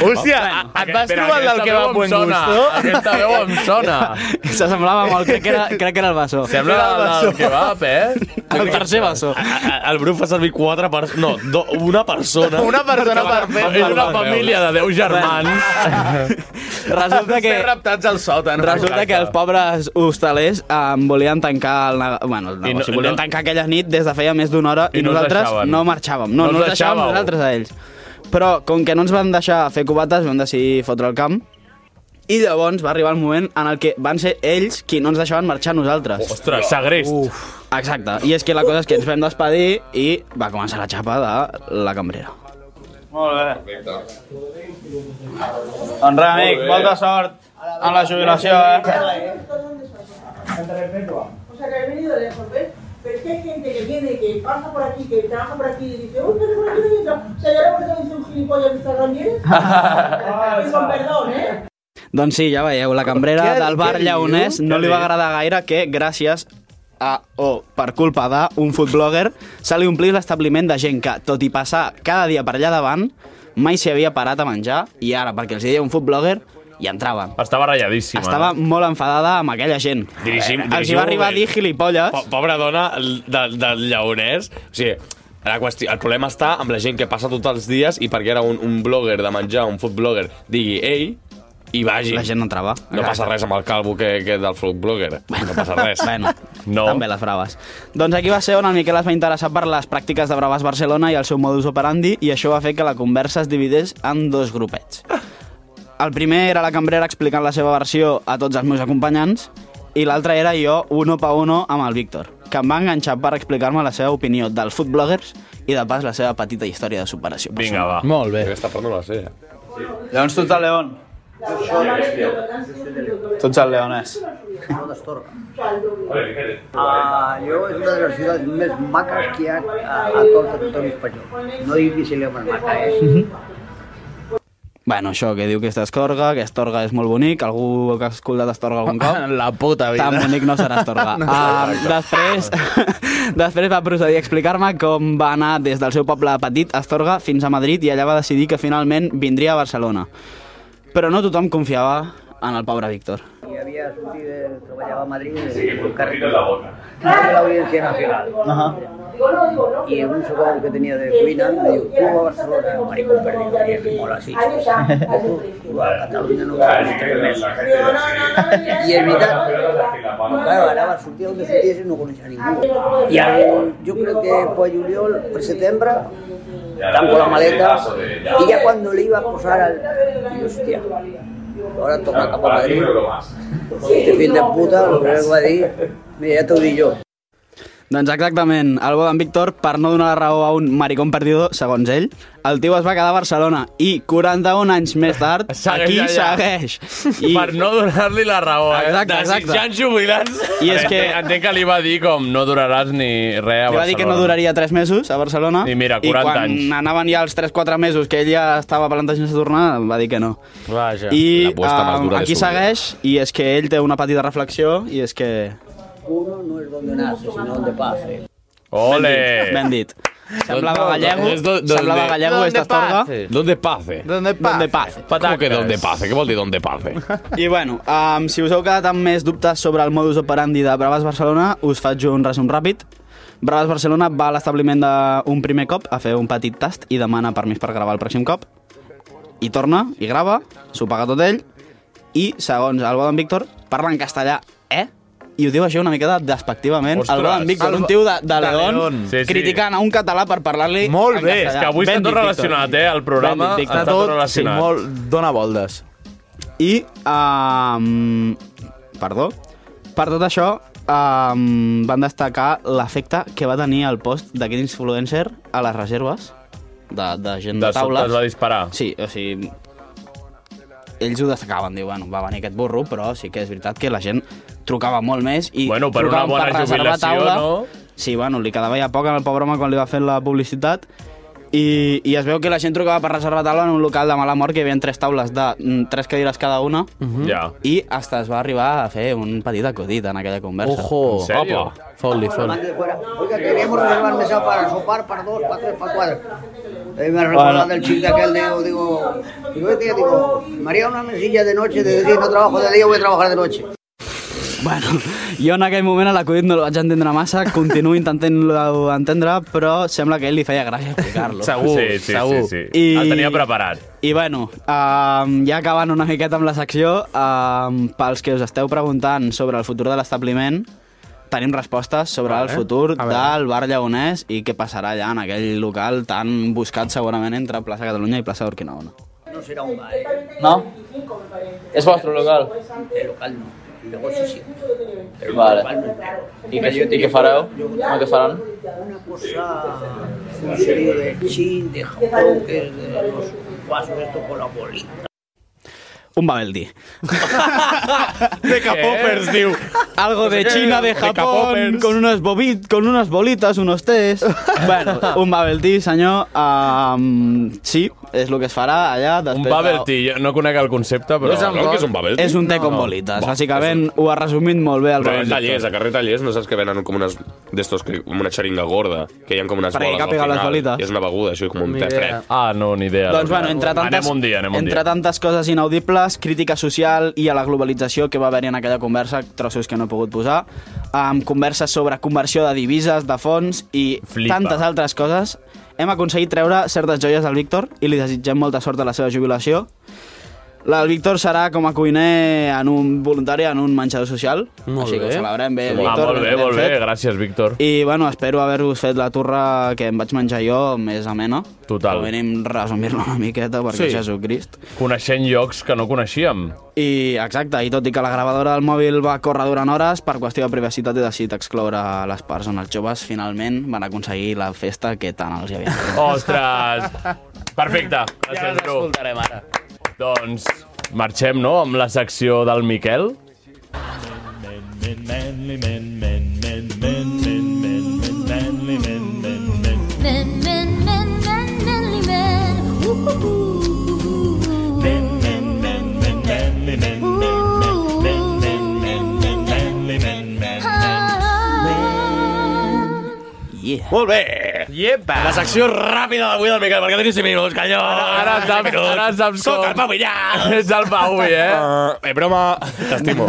[SPEAKER 2] Hòstia, et vas trobar el del que va buen gusto?
[SPEAKER 3] Aquesta veu em sona.
[SPEAKER 8] S'assemblava molt, crec que era, crec que era el Bassó.
[SPEAKER 3] Sembla
[SPEAKER 8] Era
[SPEAKER 3] el del kebab, eh?
[SPEAKER 8] El tercer Bassó.
[SPEAKER 9] El Bru fa servir quatre persones... No, do, una persona.
[SPEAKER 2] Una persona per fer-
[SPEAKER 9] És una família
[SPEAKER 3] de deu germans.
[SPEAKER 8] Resulta que...
[SPEAKER 2] raptats al sòtan.
[SPEAKER 8] Resulta que els pobres hostalers em volien tancar el negoci, bueno, el
[SPEAKER 2] I no-
[SPEAKER 8] negoci, volien
[SPEAKER 2] no-
[SPEAKER 8] tancar aquella nit des de feia més d'una hora i,
[SPEAKER 2] I no us
[SPEAKER 8] nosaltres
[SPEAKER 2] deixaven.
[SPEAKER 8] no marxàvem. No,
[SPEAKER 2] No us
[SPEAKER 8] no, els deixàvem
[SPEAKER 2] deixàveu.
[SPEAKER 8] nosaltres a ells. Però com que no ens van deixar fer cubates, vam decidir fotre el camp. I llavors va arribar el moment en el que van ser ells qui no ens deixaven marxar a nosaltres.
[SPEAKER 3] Ostres, segrest.
[SPEAKER 8] Uf. Exacte. I és que la cosa és que ens vam despedir i va començar la xapa de la cambrera.
[SPEAKER 18] Molt bé.
[SPEAKER 8] Doncs res, amic, molta sort en la jubilació, eh?
[SPEAKER 16] O sea, que habéis venido lejos, ¿ves? Pero es que hay gente que viene, que pasa por aquí, que trabaja por aquí y dice, uy, pero por aquí no entra. O sea, ya ahora cuando dice un gilipollas Mr. Ramírez. Y con perdón, ¿eh?
[SPEAKER 8] Doncs sí, ja veieu, la cambrera
[SPEAKER 16] Què-
[SPEAKER 8] del bar
[SPEAKER 16] què diu?
[SPEAKER 8] Lleonès no
[SPEAKER 16] Què
[SPEAKER 8] li va
[SPEAKER 16] diu?
[SPEAKER 8] agradar gaire que, gràcies a, o per culpa d'un foodblogger, se li omplís l'establiment de gent que, tot i passar cada dia per allà davant, mai s'hi havia parat a menjar i ara, perquè els hi deia un foodblogger, hi entraven.
[SPEAKER 3] Estava ratlladíssima.
[SPEAKER 8] Estava molt enfadada amb aquella gent. Eh,
[SPEAKER 9] Dirigim,
[SPEAKER 8] Els hi va arribar a dir gilipolles.
[SPEAKER 9] Po Pobra dona el- del, del lleonès. O sigui, la qüestió, el problema està amb la gent que passa tots els dies i perquè era un, un blogger de menjar, un food blogger, digui ei i vagi.
[SPEAKER 8] La gent no entrava.
[SPEAKER 9] No passa res amb el calvo que, que del food blogger. No passa res.
[SPEAKER 8] bueno,
[SPEAKER 9] no.
[SPEAKER 8] també les braves. Doncs aquí va ser on el Miquel es va interessar per les pràctiques de Braves Barcelona i el seu modus operandi i això va fer que la conversa es dividés en dos grupets. el primer era la cambrera explicant la seva versió a tots els meus acompanyants i l'altre era jo, uno pa uno, amb el Víctor, que em va enganxar per explicar-me la seva opinió dels food bloggers i de pas la seva petita història de superació.
[SPEAKER 9] Vinga, va.
[SPEAKER 8] Molt bé.
[SPEAKER 9] Aquesta part no la sé.
[SPEAKER 8] Llavors tu ets el León. Tu ets el Leonès.
[SPEAKER 16] Ah, Lleó és una de les ciutats més maques que hi ha a, a tot el territori espanyol. No dic que si l'hem maca, eh?
[SPEAKER 8] Bueno, això, que diu que està Estorga, que Estorga és molt bonic, algú que ha escoltat Estorga algun cop? La puta
[SPEAKER 20] vida.
[SPEAKER 8] Tan bonic no serà Estorga.
[SPEAKER 20] No.
[SPEAKER 8] Ah, després, després va procedir a explicar-me com va anar des del seu poble petit, Estorga, fins a Madrid, i allà va decidir que finalment vindria a Barcelona. Però no tothom confiava en el pobre Víctor.
[SPEAKER 16] I havia sortit de treballar a Madrid en un carrer de la l'Audiència Nacional.
[SPEAKER 8] Ajá.
[SPEAKER 16] Y un socorro que tenía de cuina me dijo, tú a Barcelona, maricón perdido, y dije, mola así. Tú a Cataluña no vas a tres meses. Y en mitad, no, claro, ahora va a surtir donde surtiese no conocía a ninguno. Y al, yo creo que fue julio, por septiembre, con la maleta, y ya cuando le iba a posar al... Y hostia, ahora toca acá para Madrid. Este fin de puta, lo primero que va a decir, mira, ya te lo di yo.
[SPEAKER 8] Doncs exactament, el bo d'en Víctor, per no donar la raó a un maricón perdido, segons ell, el tio es va quedar a Barcelona i 41 anys més tard, aquí
[SPEAKER 3] allà.
[SPEAKER 8] segueix. I...
[SPEAKER 3] Per no donar-li la raó, eh?
[SPEAKER 8] Exacte, exacte.
[SPEAKER 3] Desitjant jubilats.
[SPEAKER 8] I és que-
[SPEAKER 3] Entenc, entenc que li va dir com no duraràs ni res a
[SPEAKER 8] Li va dir que no
[SPEAKER 3] Barcelona.
[SPEAKER 8] duraria 3 mesos a Barcelona.
[SPEAKER 3] I mira, 40
[SPEAKER 8] I quan
[SPEAKER 3] anys.
[SPEAKER 8] anaven ja els 3-4 mesos que ell ja estava plantejant-se tornar, va dir que no.
[SPEAKER 20] Vaja.
[SPEAKER 8] I
[SPEAKER 20] puesta más
[SPEAKER 8] eh,
[SPEAKER 20] dura de
[SPEAKER 8] aquí
[SPEAKER 20] su vida.
[SPEAKER 8] segueix, i és que ell té una petita reflexió, i és que...
[SPEAKER 16] Uno no es donde nace, sino donde pase.
[SPEAKER 8] Ole! Ben dit. Semblava gallego, semblava gallego, esta estorga.
[SPEAKER 9] ¿Dónde pase?
[SPEAKER 8] ¿Dónde pase? ¿Dónde pase?
[SPEAKER 9] ¿Cómo que dónde pase? ¿Qué vol dir dónde pase?
[SPEAKER 8] I bueno, um, si us heu quedat amb més dubtes sobre el modus operandi de Braves Barcelona, us faig un resum ràpid. Braves Barcelona va a l'establiment d'un primer cop a fer un petit tast i demana permís per gravar el pròxim cop. I torna, i grava, s'ho paga tot ell, i, segons el Bodan Víctor, parla en castellà, eh? I ho diu això una miqueta despectivament.
[SPEAKER 20] Ostres.
[SPEAKER 8] el Bodan Víctor,
[SPEAKER 20] El-
[SPEAKER 8] un tio de, de,
[SPEAKER 20] de
[SPEAKER 8] León,
[SPEAKER 20] León. Sí, sí.
[SPEAKER 8] criticant a un català per parlar-li
[SPEAKER 20] Molt
[SPEAKER 8] en
[SPEAKER 20] bé,
[SPEAKER 8] castellà.
[SPEAKER 20] és que avui està
[SPEAKER 8] Ben
[SPEAKER 20] tot
[SPEAKER 8] dit, Víctor.
[SPEAKER 20] relacionat, eh, el programa
[SPEAKER 8] Ben dit, Víctor.
[SPEAKER 20] està tot relacionat.
[SPEAKER 8] Sí, molt, dona voltes. I, um, perdó, per tot això um, van destacar l'efecte que va tenir el post d'aquest influencer a les reserves de, de gent de,
[SPEAKER 3] De sobte
[SPEAKER 8] taules.
[SPEAKER 3] es va disparar.
[SPEAKER 8] Sí, o sigui, ells ho destacaven, diu, bueno, va venir aquest burro, però sí que és veritat que la gent trucava molt més i
[SPEAKER 3] Bueno, per una
[SPEAKER 8] trucaven
[SPEAKER 3] bona
[SPEAKER 8] reservar
[SPEAKER 3] jubilació, no?
[SPEAKER 8] Sí, bueno, li quedava ja poc al pobre home quan li va fer la publicitat i, i es veu que la gent trucava per reservar taula en un local de mala mort que hi havia tres taules de mm, tres cadires cada una
[SPEAKER 3] Mm.
[SPEAKER 20] Mhm. Ja.
[SPEAKER 8] i hasta es va arribar a fer un petit acudit en aquella conversa.
[SPEAKER 20] Ojo. En sèrio? Opa.
[SPEAKER 8] Fot-li,
[SPEAKER 16] Oiga, queríamos reservar mesa para sopar, para dos, para tres, para cuatro. Ahí me recordaba del chiste aquel, digo, digo, digo, este día, digo, María, una mesilla de noche, de decir, no trabajo de día, voy a trabajar de noche.
[SPEAKER 8] Bueno, jo en aquell moment a l'acudit no el vaig entendre massa, continuo intentant-lo entendre, però sembla que a ell li feia gràcia explicar-lo.
[SPEAKER 3] Segur, sí, sí,
[SPEAKER 8] segur.
[SPEAKER 3] Sí, sí.
[SPEAKER 8] I-
[SPEAKER 3] El tenia preparat.
[SPEAKER 8] I bueno, um, ja acabant una miqueta amb la secció, um, pels que us esteu preguntant sobre el futur de l'establiment, tenim respostes sobre el
[SPEAKER 20] Vale.
[SPEAKER 8] futur
[SPEAKER 20] A veure.
[SPEAKER 8] del bar lleonès i què passarà allà en aquell local tan buscat segurament entre plaça Catalunya i plaça Urquinaona.
[SPEAKER 16] No será un bar, ¿eh?
[SPEAKER 8] No? ¿Es vuestro local?
[SPEAKER 16] El local no, el negocio sí. Pero
[SPEAKER 8] Vale.
[SPEAKER 16] el local no es negro.
[SPEAKER 8] I què- i què fareu? No, què faran?
[SPEAKER 16] Una cosa, un serio de chin, de Japón, que es de los vasos estos con la bolita.
[SPEAKER 8] Un Babeldi. de
[SPEAKER 3] Eh?
[SPEAKER 20] Capopers,
[SPEAKER 8] diu. Algo de China, de
[SPEAKER 20] De
[SPEAKER 8] Japón,
[SPEAKER 20] Capopers.
[SPEAKER 8] con unas, bobit, con unas bolitas, unos tés. bueno, un Babeldi, senyor. Um, sí, és el que es farà allà.
[SPEAKER 3] Un
[SPEAKER 8] Després
[SPEAKER 3] bubble tea, jo no conec el concepte, però...
[SPEAKER 8] És un té com bolites. Bàsicament, ho ha resumit molt bé el
[SPEAKER 9] Però en
[SPEAKER 8] Babeldi.
[SPEAKER 9] tallers, a carrer Tallers, no saps que venen com unes d'estos, que- com una xeringa gorda, que hi ha com unes
[SPEAKER 8] Perquè
[SPEAKER 9] boles al
[SPEAKER 8] càpiga
[SPEAKER 9] final.
[SPEAKER 8] les bolites.
[SPEAKER 9] I és una beguda, això, com un
[SPEAKER 8] Ni
[SPEAKER 9] té
[SPEAKER 8] idea.
[SPEAKER 9] fred.
[SPEAKER 3] Ah, no, ni idea.
[SPEAKER 8] Doncs bueno, entre tantes,
[SPEAKER 3] Anem un dia, anem un
[SPEAKER 8] entre
[SPEAKER 3] dia.
[SPEAKER 8] tantes coses inaudibles, crítica social i a la globalització que va haver-hi en aquella conversa, trossos que no he pogut posar, amb converses sobre conversió de divises, de fons i
[SPEAKER 3] Flipa.
[SPEAKER 8] tantes altres coses, hem aconseguit treure certes joies al Víctor i li desitgem molta sort a la seva jubilació. El Víctor serà com a cuiner en un voluntari en un menjador social.
[SPEAKER 3] Molt
[SPEAKER 8] així que
[SPEAKER 3] bé.
[SPEAKER 8] ho celebrem bé,
[SPEAKER 3] Ah,
[SPEAKER 8] Víctor.
[SPEAKER 3] molt bé,
[SPEAKER 8] ben
[SPEAKER 3] molt bé.
[SPEAKER 8] fet.
[SPEAKER 3] Gràcies, Víctor.
[SPEAKER 8] I, bueno, espero haver-vos fet la turra que em vaig menjar jo més amena. Total. Com a mínim resumir-la una miqueta, perquè
[SPEAKER 3] Sí.
[SPEAKER 8] sí. Jesucrist.
[SPEAKER 3] Coneixent llocs que no coneixíem.
[SPEAKER 8] I, exacte, i tot i que la gravadora del mòbil va córrer durant hores, per qüestió de privacitat he decidit excloure les parts on els joves finalment van aconseguir la festa que tant els hi havia.
[SPEAKER 3] Ostres! Perfecte.
[SPEAKER 8] Ja les escoltarem ara.
[SPEAKER 3] Doncs marxem, no?, amb la secció del Miquel.
[SPEAKER 16] Men, men, men, men, manly men. Uh, Ooh, ooh, ooh, ooh. Men, men, men, men, manly men. Men, men, men, men, manly men. Ah,
[SPEAKER 8] Yeah.
[SPEAKER 9] Molt bé!
[SPEAKER 3] Yepa!
[SPEAKER 9] La secció ràpida d'avui del Miquel, perquè tenim 5 minuts, que jo...
[SPEAKER 3] Ara saps- ara saps
[SPEAKER 9] Sóc
[SPEAKER 3] com.
[SPEAKER 9] el Pau Villar!
[SPEAKER 3] Ets el Pau Vi, eh?
[SPEAKER 9] Uh, eh, broma, t'estimo.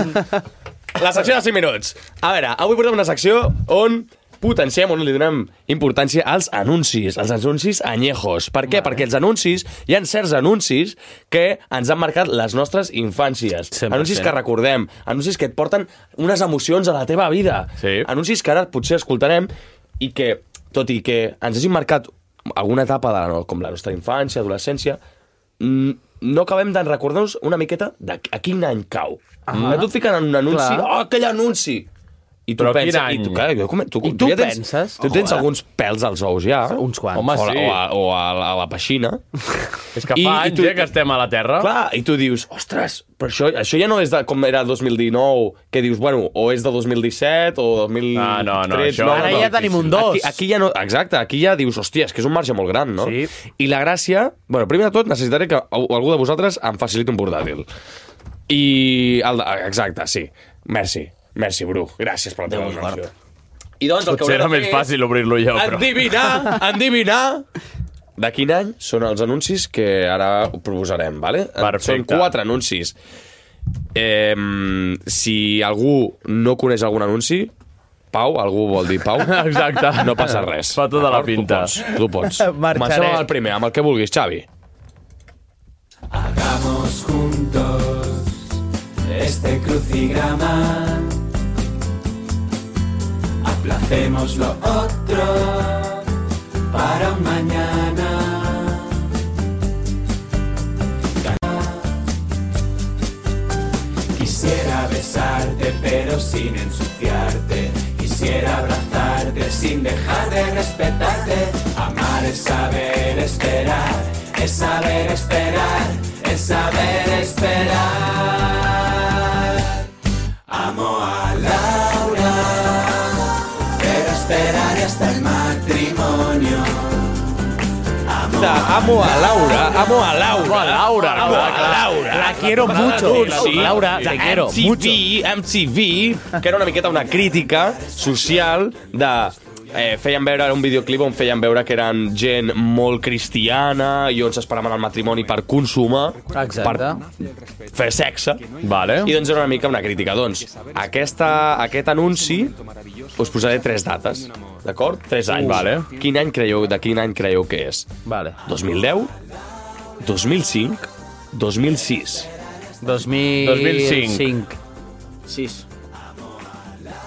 [SPEAKER 9] La secció de 5 minuts. A veure, avui portem una secció on potenciem, on li donem importància als anuncis, als anuncis anyejos. Per què? Perquè els anuncis, hi ha certs anuncis que ens han marcat les nostres infàncies. Anuncis que recordem, anuncis que et porten unes emocions a la teva vida. Sí. Anuncis que ara potser escoltarem i que, tot i que ens hagin marcat alguna etapa de la, no- com la nostra infància, adolescència, mm, no acabem de recordar-nos una miqueta de a quin any cau.
[SPEAKER 21] Ahà.
[SPEAKER 9] A tu et fiquen en un anunci,
[SPEAKER 21] Clar.
[SPEAKER 9] oh, aquell anunci! I tu
[SPEAKER 3] Però quin
[SPEAKER 9] penses,
[SPEAKER 3] any?
[SPEAKER 9] i tu, clar, jo, com, tu,
[SPEAKER 3] I tu
[SPEAKER 9] ja tens,
[SPEAKER 3] penses?
[SPEAKER 9] Tu tens
[SPEAKER 3] Joder.
[SPEAKER 9] alguns pèls als ous ja.
[SPEAKER 3] Uns quants.
[SPEAKER 9] Home,
[SPEAKER 3] Home,
[SPEAKER 9] o, la-
[SPEAKER 3] sí.
[SPEAKER 9] o, a, o a, la- a la peixina. És
[SPEAKER 3] que fa anys, eh, que estem a la Terra.
[SPEAKER 9] Clar, i tu dius, ostres, però això, això ja no és de com era 2019, que dius, bueno, o és de 2017 o 2013...
[SPEAKER 3] Ah, no, no, això-
[SPEAKER 9] no,
[SPEAKER 3] Ara
[SPEAKER 9] no,
[SPEAKER 3] ja tenim un dos.
[SPEAKER 9] Aquí, aquí ja no, exacte, aquí ja dius, hòstia, és que és un marge molt gran, no? Sí. I la gràcia... Bueno, primer de tot necessitaré que al- algú de vosaltres em faciliti un portàtil. I... El, de- exacte, sí. Merci. Merci, Bru. Gràcies per la teva donació. I doncs el que
[SPEAKER 3] Potser
[SPEAKER 9] hauré de
[SPEAKER 3] era més
[SPEAKER 9] fer és
[SPEAKER 3] fàcil obrir-lo jo,
[SPEAKER 8] Ah,
[SPEAKER 3] però...
[SPEAKER 9] Endivinar, endivinar de quin any són els anuncis que ara proposarem, vale? Són
[SPEAKER 3] Perfecte.
[SPEAKER 9] quatre anuncis. Eh, si algú no coneix algun anunci, Pau, algú vol dir Pau,
[SPEAKER 3] Exacte.
[SPEAKER 9] no passa res.
[SPEAKER 3] Fa tota la
[SPEAKER 9] D'acord?
[SPEAKER 3] pinta.
[SPEAKER 9] Tu pots. Tu pots. Comencem amb el primer, amb el que vulguis, Xavi.
[SPEAKER 7] Hagamos juntos este crucigrama. Aplacemos lo otro para un mañana. Quisiera besarte pero sin ensuciarte. Quisiera abrazarte sin dejar de respetarte. Amar es saber esperar, es saber esperar, es saber esperar. Amo a Laura, pero esperaré hasta el matrimonio.
[SPEAKER 9] Amo a Laura, amo a Laura.
[SPEAKER 7] Amo a Laura,
[SPEAKER 9] amo
[SPEAKER 7] clar,
[SPEAKER 9] a
[SPEAKER 7] clar.
[SPEAKER 9] Laura.
[SPEAKER 7] La quiero mucho.
[SPEAKER 9] Anunci
[SPEAKER 7] Laura,
[SPEAKER 9] de
[SPEAKER 7] te quiero
[SPEAKER 9] MTV, MTV, que era una miqueta una crítica social de... Eh, feien veure, era un videoclip on feien veure que eren gent molt cristiana i on s'esperaven el matrimoni per consumar, per fer sexe. Vale. I doncs era una mica una crítica. Doncs aquesta, aquest anunci us posaré tres dates, d'acord? Tres anys.
[SPEAKER 3] Vale.
[SPEAKER 9] Quin any creieu, de quin any creieu que és? Vale. 2010, 2005, 2006.
[SPEAKER 5] 2000...
[SPEAKER 9] 2005.
[SPEAKER 5] 6.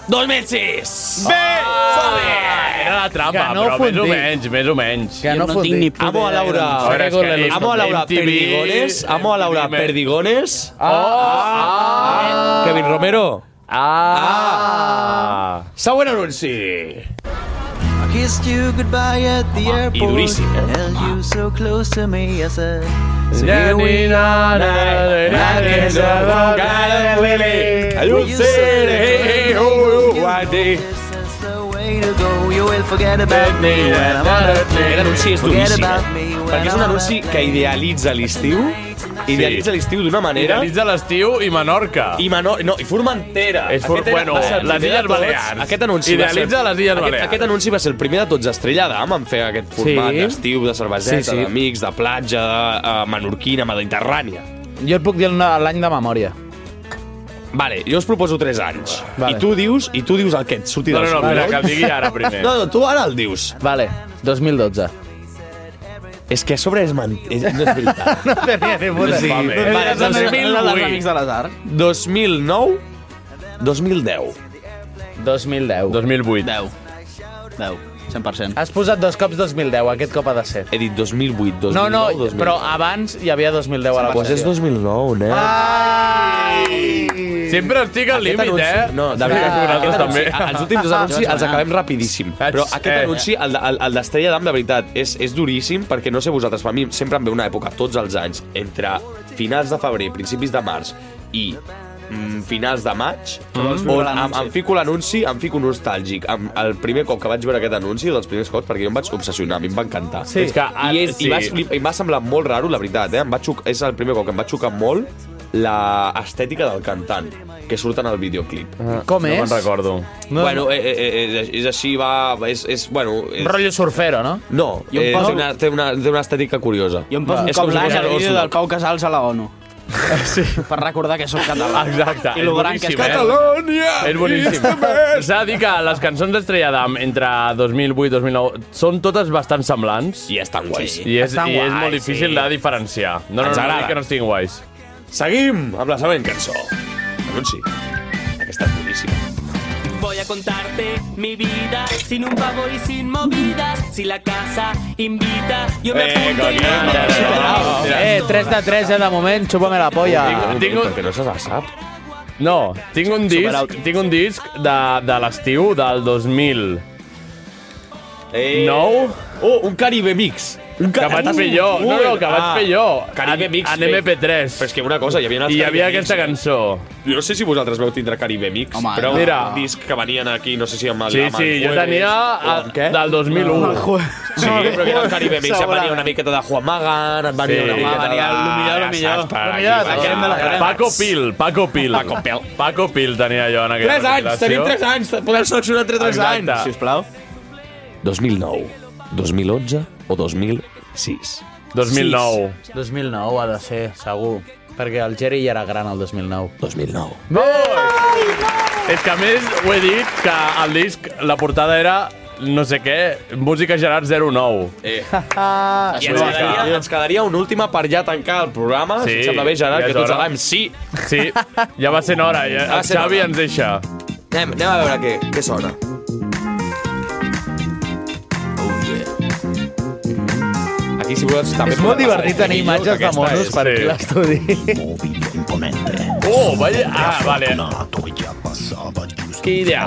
[SPEAKER 9] 2006! Bé! Ah,
[SPEAKER 3] era la trampa,
[SPEAKER 9] Que no
[SPEAKER 3] però més o
[SPEAKER 9] fondi.
[SPEAKER 3] menys, més o menys.
[SPEAKER 9] Que Jo no no fondi. tinc ni puta Amo a idea Laura. d'on
[SPEAKER 3] A veure, és
[SPEAKER 9] Segons
[SPEAKER 3] que
[SPEAKER 9] la Amo a Laura
[SPEAKER 3] MTV,
[SPEAKER 9] Perdigones, amo a Laura
[SPEAKER 3] MTV.
[SPEAKER 9] Perdigones. Kevin Romero. Ah! Següent anunci.
[SPEAKER 2] I kissed you goodbye at the airport.
[SPEAKER 9] duríssim, eh?
[SPEAKER 2] Held you so close to me, I said. So
[SPEAKER 9] Na,
[SPEAKER 2] here we
[SPEAKER 9] ni, na,
[SPEAKER 2] are
[SPEAKER 9] na, na, na, na, na, na, na, na. I will say, hey, hey, ho, ho, one day.
[SPEAKER 2] Way to go, you will forget about me when I'm on a
[SPEAKER 9] Aquest anunci és
[SPEAKER 2] Forget
[SPEAKER 9] duríssim,
[SPEAKER 2] about
[SPEAKER 9] eh?
[SPEAKER 2] me when
[SPEAKER 9] perquè és un anunci que idealitza l'estiu, idealitza l'estiu d'una manera...
[SPEAKER 3] Idealitza l'estiu i Menorca.
[SPEAKER 9] I Menor... No, i Formentera.
[SPEAKER 3] És for-
[SPEAKER 9] Aquest era-
[SPEAKER 3] bueno,
[SPEAKER 9] va ser el
[SPEAKER 3] les
[SPEAKER 9] primer
[SPEAKER 3] Illes
[SPEAKER 9] de tots.
[SPEAKER 3] Balears.
[SPEAKER 9] Aquest anunci
[SPEAKER 3] Idealitza
[SPEAKER 9] va ser...
[SPEAKER 3] les Illes
[SPEAKER 9] aquest,
[SPEAKER 3] Balears.
[SPEAKER 9] Aquest anunci va ser el primer de tots. Estrella d'Am en fer aquest format
[SPEAKER 5] Sí.
[SPEAKER 9] d'estiu, de cerveseta,
[SPEAKER 5] Sí, sí.
[SPEAKER 9] d'amics, de platja, de, uh, menorquina, mediterrània.
[SPEAKER 5] Jo et puc dir el- l'any de memòria.
[SPEAKER 9] Vale, jo us proposo 3 anys.
[SPEAKER 5] Vale.
[SPEAKER 9] I tu dius i tu dius el que et surti
[SPEAKER 5] No,
[SPEAKER 9] dels
[SPEAKER 5] no, no, espera,
[SPEAKER 9] collons.
[SPEAKER 5] que el digui ara primer.
[SPEAKER 9] No, no, tu ara el dius.
[SPEAKER 5] Vale, 2012.
[SPEAKER 9] És que a sobre és man... És, no és veritat.
[SPEAKER 8] No tenia ni puta.
[SPEAKER 9] Sí.
[SPEAKER 8] idea.
[SPEAKER 9] Vale,
[SPEAKER 8] Era dels amics- era dels
[SPEAKER 9] 2008.
[SPEAKER 8] amics de les arts.
[SPEAKER 9] 2009, 2010.
[SPEAKER 8] 2010.
[SPEAKER 3] 2008.
[SPEAKER 9] 10.
[SPEAKER 14] 10, 100%.
[SPEAKER 8] Has posat dos cops 2010, aquest cop ha de ser.
[SPEAKER 9] He dit 2008, 2009,
[SPEAKER 8] No, no,
[SPEAKER 9] 2010.
[SPEAKER 8] però Ah. abans hi havia 2010 a la
[SPEAKER 9] Pues és
[SPEAKER 8] qüestió.
[SPEAKER 9] 2009, nen.
[SPEAKER 3] Sempre estic al límit, eh?
[SPEAKER 9] No, de veritat,
[SPEAKER 3] Ah,
[SPEAKER 9] aquest
[SPEAKER 3] aquest
[SPEAKER 9] anunci,
[SPEAKER 3] també.
[SPEAKER 9] els últims dos anuncis els acabem rapidíssim. Però
[SPEAKER 3] Eh.
[SPEAKER 9] aquest anunci, el, de- el, el d'Estrella d'Am, de veritat, és, és duríssim perquè no sé vosaltres, però a mi sempre em ve una època tots els anys, entre finals de febrer, principis de març i mm, finals de maig,
[SPEAKER 14] Mm.
[SPEAKER 9] on em, em fico l'anunci, em fico nostàlgic. Em, el primer cop que vaig veure aquest anunci, dels primers cops, perquè jo em vaig obsessionar, a mi em va encantar.
[SPEAKER 3] Sí. És que, ah,
[SPEAKER 9] I, és,
[SPEAKER 3] sí.
[SPEAKER 9] i, vaig, flip- i m'ha semblat molt raro, la veritat, eh? Em va xoc... És el primer cop que em va xocar molt l'estètica del cantant que surt en el videoclip.
[SPEAKER 8] Ah, Com no és? me'n recordo.
[SPEAKER 9] No, bueno, eh, eh, eh, és, és així, va... És, és bueno... És...
[SPEAKER 8] Rollo surfero, no?
[SPEAKER 9] No,
[SPEAKER 8] Jo em
[SPEAKER 9] eh,
[SPEAKER 8] poso-
[SPEAKER 9] té, una, té, una, té una estètica curiosa.
[SPEAKER 14] Jo em poso un cop l'any el vídeo del Pau Casals a la ONU.
[SPEAKER 3] Sí.
[SPEAKER 14] Per recordar que sóc català.
[SPEAKER 3] Exacte.
[SPEAKER 14] I lo gran que és
[SPEAKER 3] boníssim, eh? És boníssim. S'ha de dir que les cançons d'Estrella d'Am entre 2008 i 2009 són totes bastant semblants.
[SPEAKER 9] I estan guais.
[SPEAKER 3] I és,
[SPEAKER 9] Estan
[SPEAKER 3] i és
[SPEAKER 9] guais,
[SPEAKER 3] molt difícil
[SPEAKER 9] sí.
[SPEAKER 3] de diferenciar. No, no,
[SPEAKER 9] Ens
[SPEAKER 3] no, no,
[SPEAKER 9] agrada.
[SPEAKER 3] dic que no estiguin guais.
[SPEAKER 9] Seguim amb la següent cançó. Anunci. Aquesta és boníssima.
[SPEAKER 22] Voy a contarte mi vida sin un pavo y sin movidas. Si la casa invita, yo me apunto y nada.
[SPEAKER 8] Eh, 3 de 3, eh, de moment, xupa'me la polla.
[SPEAKER 9] Ah,
[SPEAKER 3] Tinc un...
[SPEAKER 9] no se la sap.
[SPEAKER 3] No, tinc un disc,
[SPEAKER 8] Superauto.
[SPEAKER 3] tinc un disc de, de l'estiu del 2000.
[SPEAKER 9] Eh.
[SPEAKER 3] Nou?
[SPEAKER 9] Oh, un Caribe Mix. Un
[SPEAKER 3] que vaig fer jo. No, no, que vaig fer jo.
[SPEAKER 9] Caribe Mix.
[SPEAKER 3] En MP3.
[SPEAKER 9] Però és que una cosa, hi havia els
[SPEAKER 3] I hi havia
[SPEAKER 9] Caribe Mix.
[SPEAKER 3] aquesta cançó.
[SPEAKER 9] Jo no sé si vosaltres vau tindre Caribe Mix,
[SPEAKER 3] Home,
[SPEAKER 9] però
[SPEAKER 3] no.
[SPEAKER 9] era un disc que venien aquí, no sé si amb el
[SPEAKER 3] Sí,
[SPEAKER 9] amb
[SPEAKER 3] sí,
[SPEAKER 9] el
[SPEAKER 3] jo
[SPEAKER 9] Jueves
[SPEAKER 3] tenia
[SPEAKER 9] o amb
[SPEAKER 3] el-
[SPEAKER 9] què?
[SPEAKER 3] del 2001. Amb el Jueves.
[SPEAKER 9] Sí, però que era el Caribe Mix, et venia una miqueta de Juan Magan, et venia
[SPEAKER 3] Sí.
[SPEAKER 9] una miqueta de...
[SPEAKER 3] Venia el millor, el
[SPEAKER 9] Ja saps,
[SPEAKER 3] millor.
[SPEAKER 9] per
[SPEAKER 3] El
[SPEAKER 9] aquí,
[SPEAKER 3] millor, la
[SPEAKER 9] per
[SPEAKER 3] crema de la
[SPEAKER 9] allà.
[SPEAKER 3] crema. Paco Pil, Paco Pil. Paco Pil. Paco Pil tenia jo en aquella
[SPEAKER 9] Tres anys,
[SPEAKER 3] recopilació.
[SPEAKER 9] tenim tres anys, podem seleccionar entre tres
[SPEAKER 3] Exacte.
[SPEAKER 9] anys. Sisplau. 2009, 2011 o 2006?
[SPEAKER 8] 2009. 2009 ha de ser, segur. Perquè el Jerry ja era gran el 2009.
[SPEAKER 9] 2009.
[SPEAKER 3] És que a més ho he dit que el disc, la portada era no sé què, música Gerard 09.
[SPEAKER 9] Eh.
[SPEAKER 8] Ah,
[SPEAKER 9] I ens quedaria, ens quedaria una última per ja tancar el programa, sí, si et sembla bé, Gerard,
[SPEAKER 3] ja
[SPEAKER 9] que
[SPEAKER 3] és
[SPEAKER 9] tu ens
[SPEAKER 3] hora.
[SPEAKER 9] agafem sí.
[SPEAKER 3] Sí, ja va sent hora. Ja,
[SPEAKER 9] Va
[SPEAKER 3] el
[SPEAKER 9] sent
[SPEAKER 3] Xavi
[SPEAKER 9] hora.
[SPEAKER 3] ens deixa.
[SPEAKER 9] Anem, anem a veure què, què sona. Oh, Aquí, si vols, també...
[SPEAKER 8] És molt divertit tenir imatges de monos per aquí a l'estudi.
[SPEAKER 3] Oh, vaya... Ah, vale. Qué idea.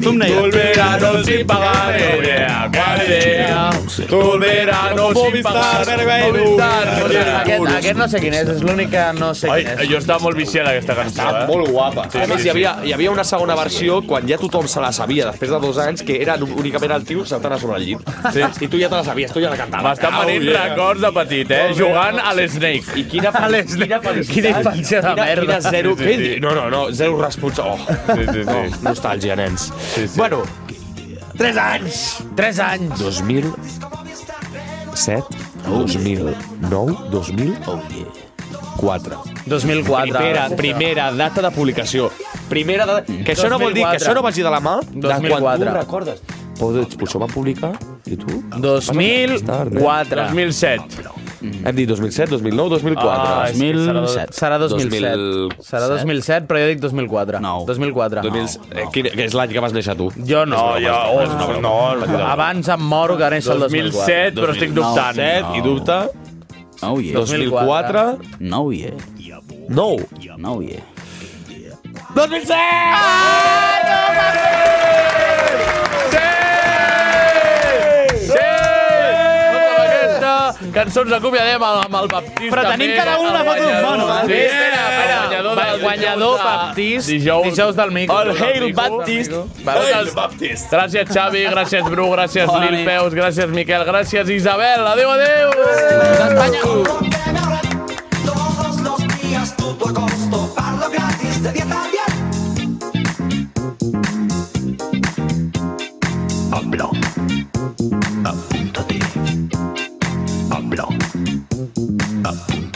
[SPEAKER 3] Thumbnail, thumbnail. Todo el verano sin pagar, eh, idea. Cuál idea. Todo el verano eh, sin pagar. Movistar. eh,
[SPEAKER 8] Aquest, aquest no sé quin és, és l'únic que no sé
[SPEAKER 3] Ai,
[SPEAKER 8] quin és.
[SPEAKER 3] jo estava molt viciada aquesta cançó, eh?
[SPEAKER 9] eh? Ah, molt guapa.
[SPEAKER 3] Sí,
[SPEAKER 9] a més,
[SPEAKER 3] sí,
[SPEAKER 9] hi, havia,
[SPEAKER 3] sí.
[SPEAKER 9] hi havia una segona versió, quan ja tothom se la sabia, després de dos anys, que era únicament el tio saltant a sobre el llit. Sí. I tu ja te la sabies, tu ja la cantaves.
[SPEAKER 3] M'estan venint records de petit, eh? Jugant a l'Snake.
[SPEAKER 9] I quina, fe quina felicitat.
[SPEAKER 3] Quina infància de
[SPEAKER 9] Quina-
[SPEAKER 3] merda.
[SPEAKER 9] Quina zero...
[SPEAKER 3] Sí, sí, sí.
[SPEAKER 9] Sí, sí, No, no, no, zero responsa. Oh.
[SPEAKER 3] Sí, sí, sí.
[SPEAKER 9] No, nostàlgia, nens. Sí, sí. Bueno, 3 anys!
[SPEAKER 8] 3 anys!
[SPEAKER 9] 2007, 2009, 2004.
[SPEAKER 8] 2004.
[SPEAKER 9] Primera, primera data de publicació. Primera data... Que això no vol dir que
[SPEAKER 8] 2004.
[SPEAKER 9] això no vagi de la mà de quan tu
[SPEAKER 8] 2004.
[SPEAKER 9] recordes. Però pues, ho van publicar i tu...
[SPEAKER 3] 2007.
[SPEAKER 8] 2004.
[SPEAKER 9] Hem dit 2007, 2009, 2004.
[SPEAKER 8] Ah, és que serà dos- Serà 2007.
[SPEAKER 9] 2007.
[SPEAKER 8] Serà 2007, però jo dic 2004. 2004.
[SPEAKER 9] 2000, eh, quin, que és l'any que vas néixer tu.
[SPEAKER 8] Jo no, jo... Oh, no, no, abans em moro que néixer el 2004.
[SPEAKER 3] 2007, però estic dubtant.
[SPEAKER 9] 2007 i dubta.
[SPEAKER 14] Oh, yeah.
[SPEAKER 9] 2004.
[SPEAKER 14] No, yeah.
[SPEAKER 9] No.
[SPEAKER 14] No, yeah.
[SPEAKER 9] 2007!
[SPEAKER 3] Amb aquesta cançó ens acomiadem amb amb el Baptista.
[SPEAKER 8] Però tenim cada un una foto d'un mono, eh?
[SPEAKER 3] Sí, espera, espera.
[SPEAKER 8] Va, el guanyador Baptist, dijous del Mico.
[SPEAKER 3] El Hail
[SPEAKER 8] Del Mico.
[SPEAKER 3] Baptist.
[SPEAKER 8] Va,
[SPEAKER 3] Hail
[SPEAKER 9] Baptist.
[SPEAKER 3] Gràcies, Xavi, gràcies, Bru, gràcies,
[SPEAKER 8] Bona
[SPEAKER 3] Lil
[SPEAKER 8] nit.
[SPEAKER 3] Peus, gràcies, Miquel, gràcies, Isabel. Adéu, adéu. Adéu.
[SPEAKER 16] Todos los días todo agosto, parlo gratis de 10 a 10. Hablo, apúntate. Hablo, apúntate.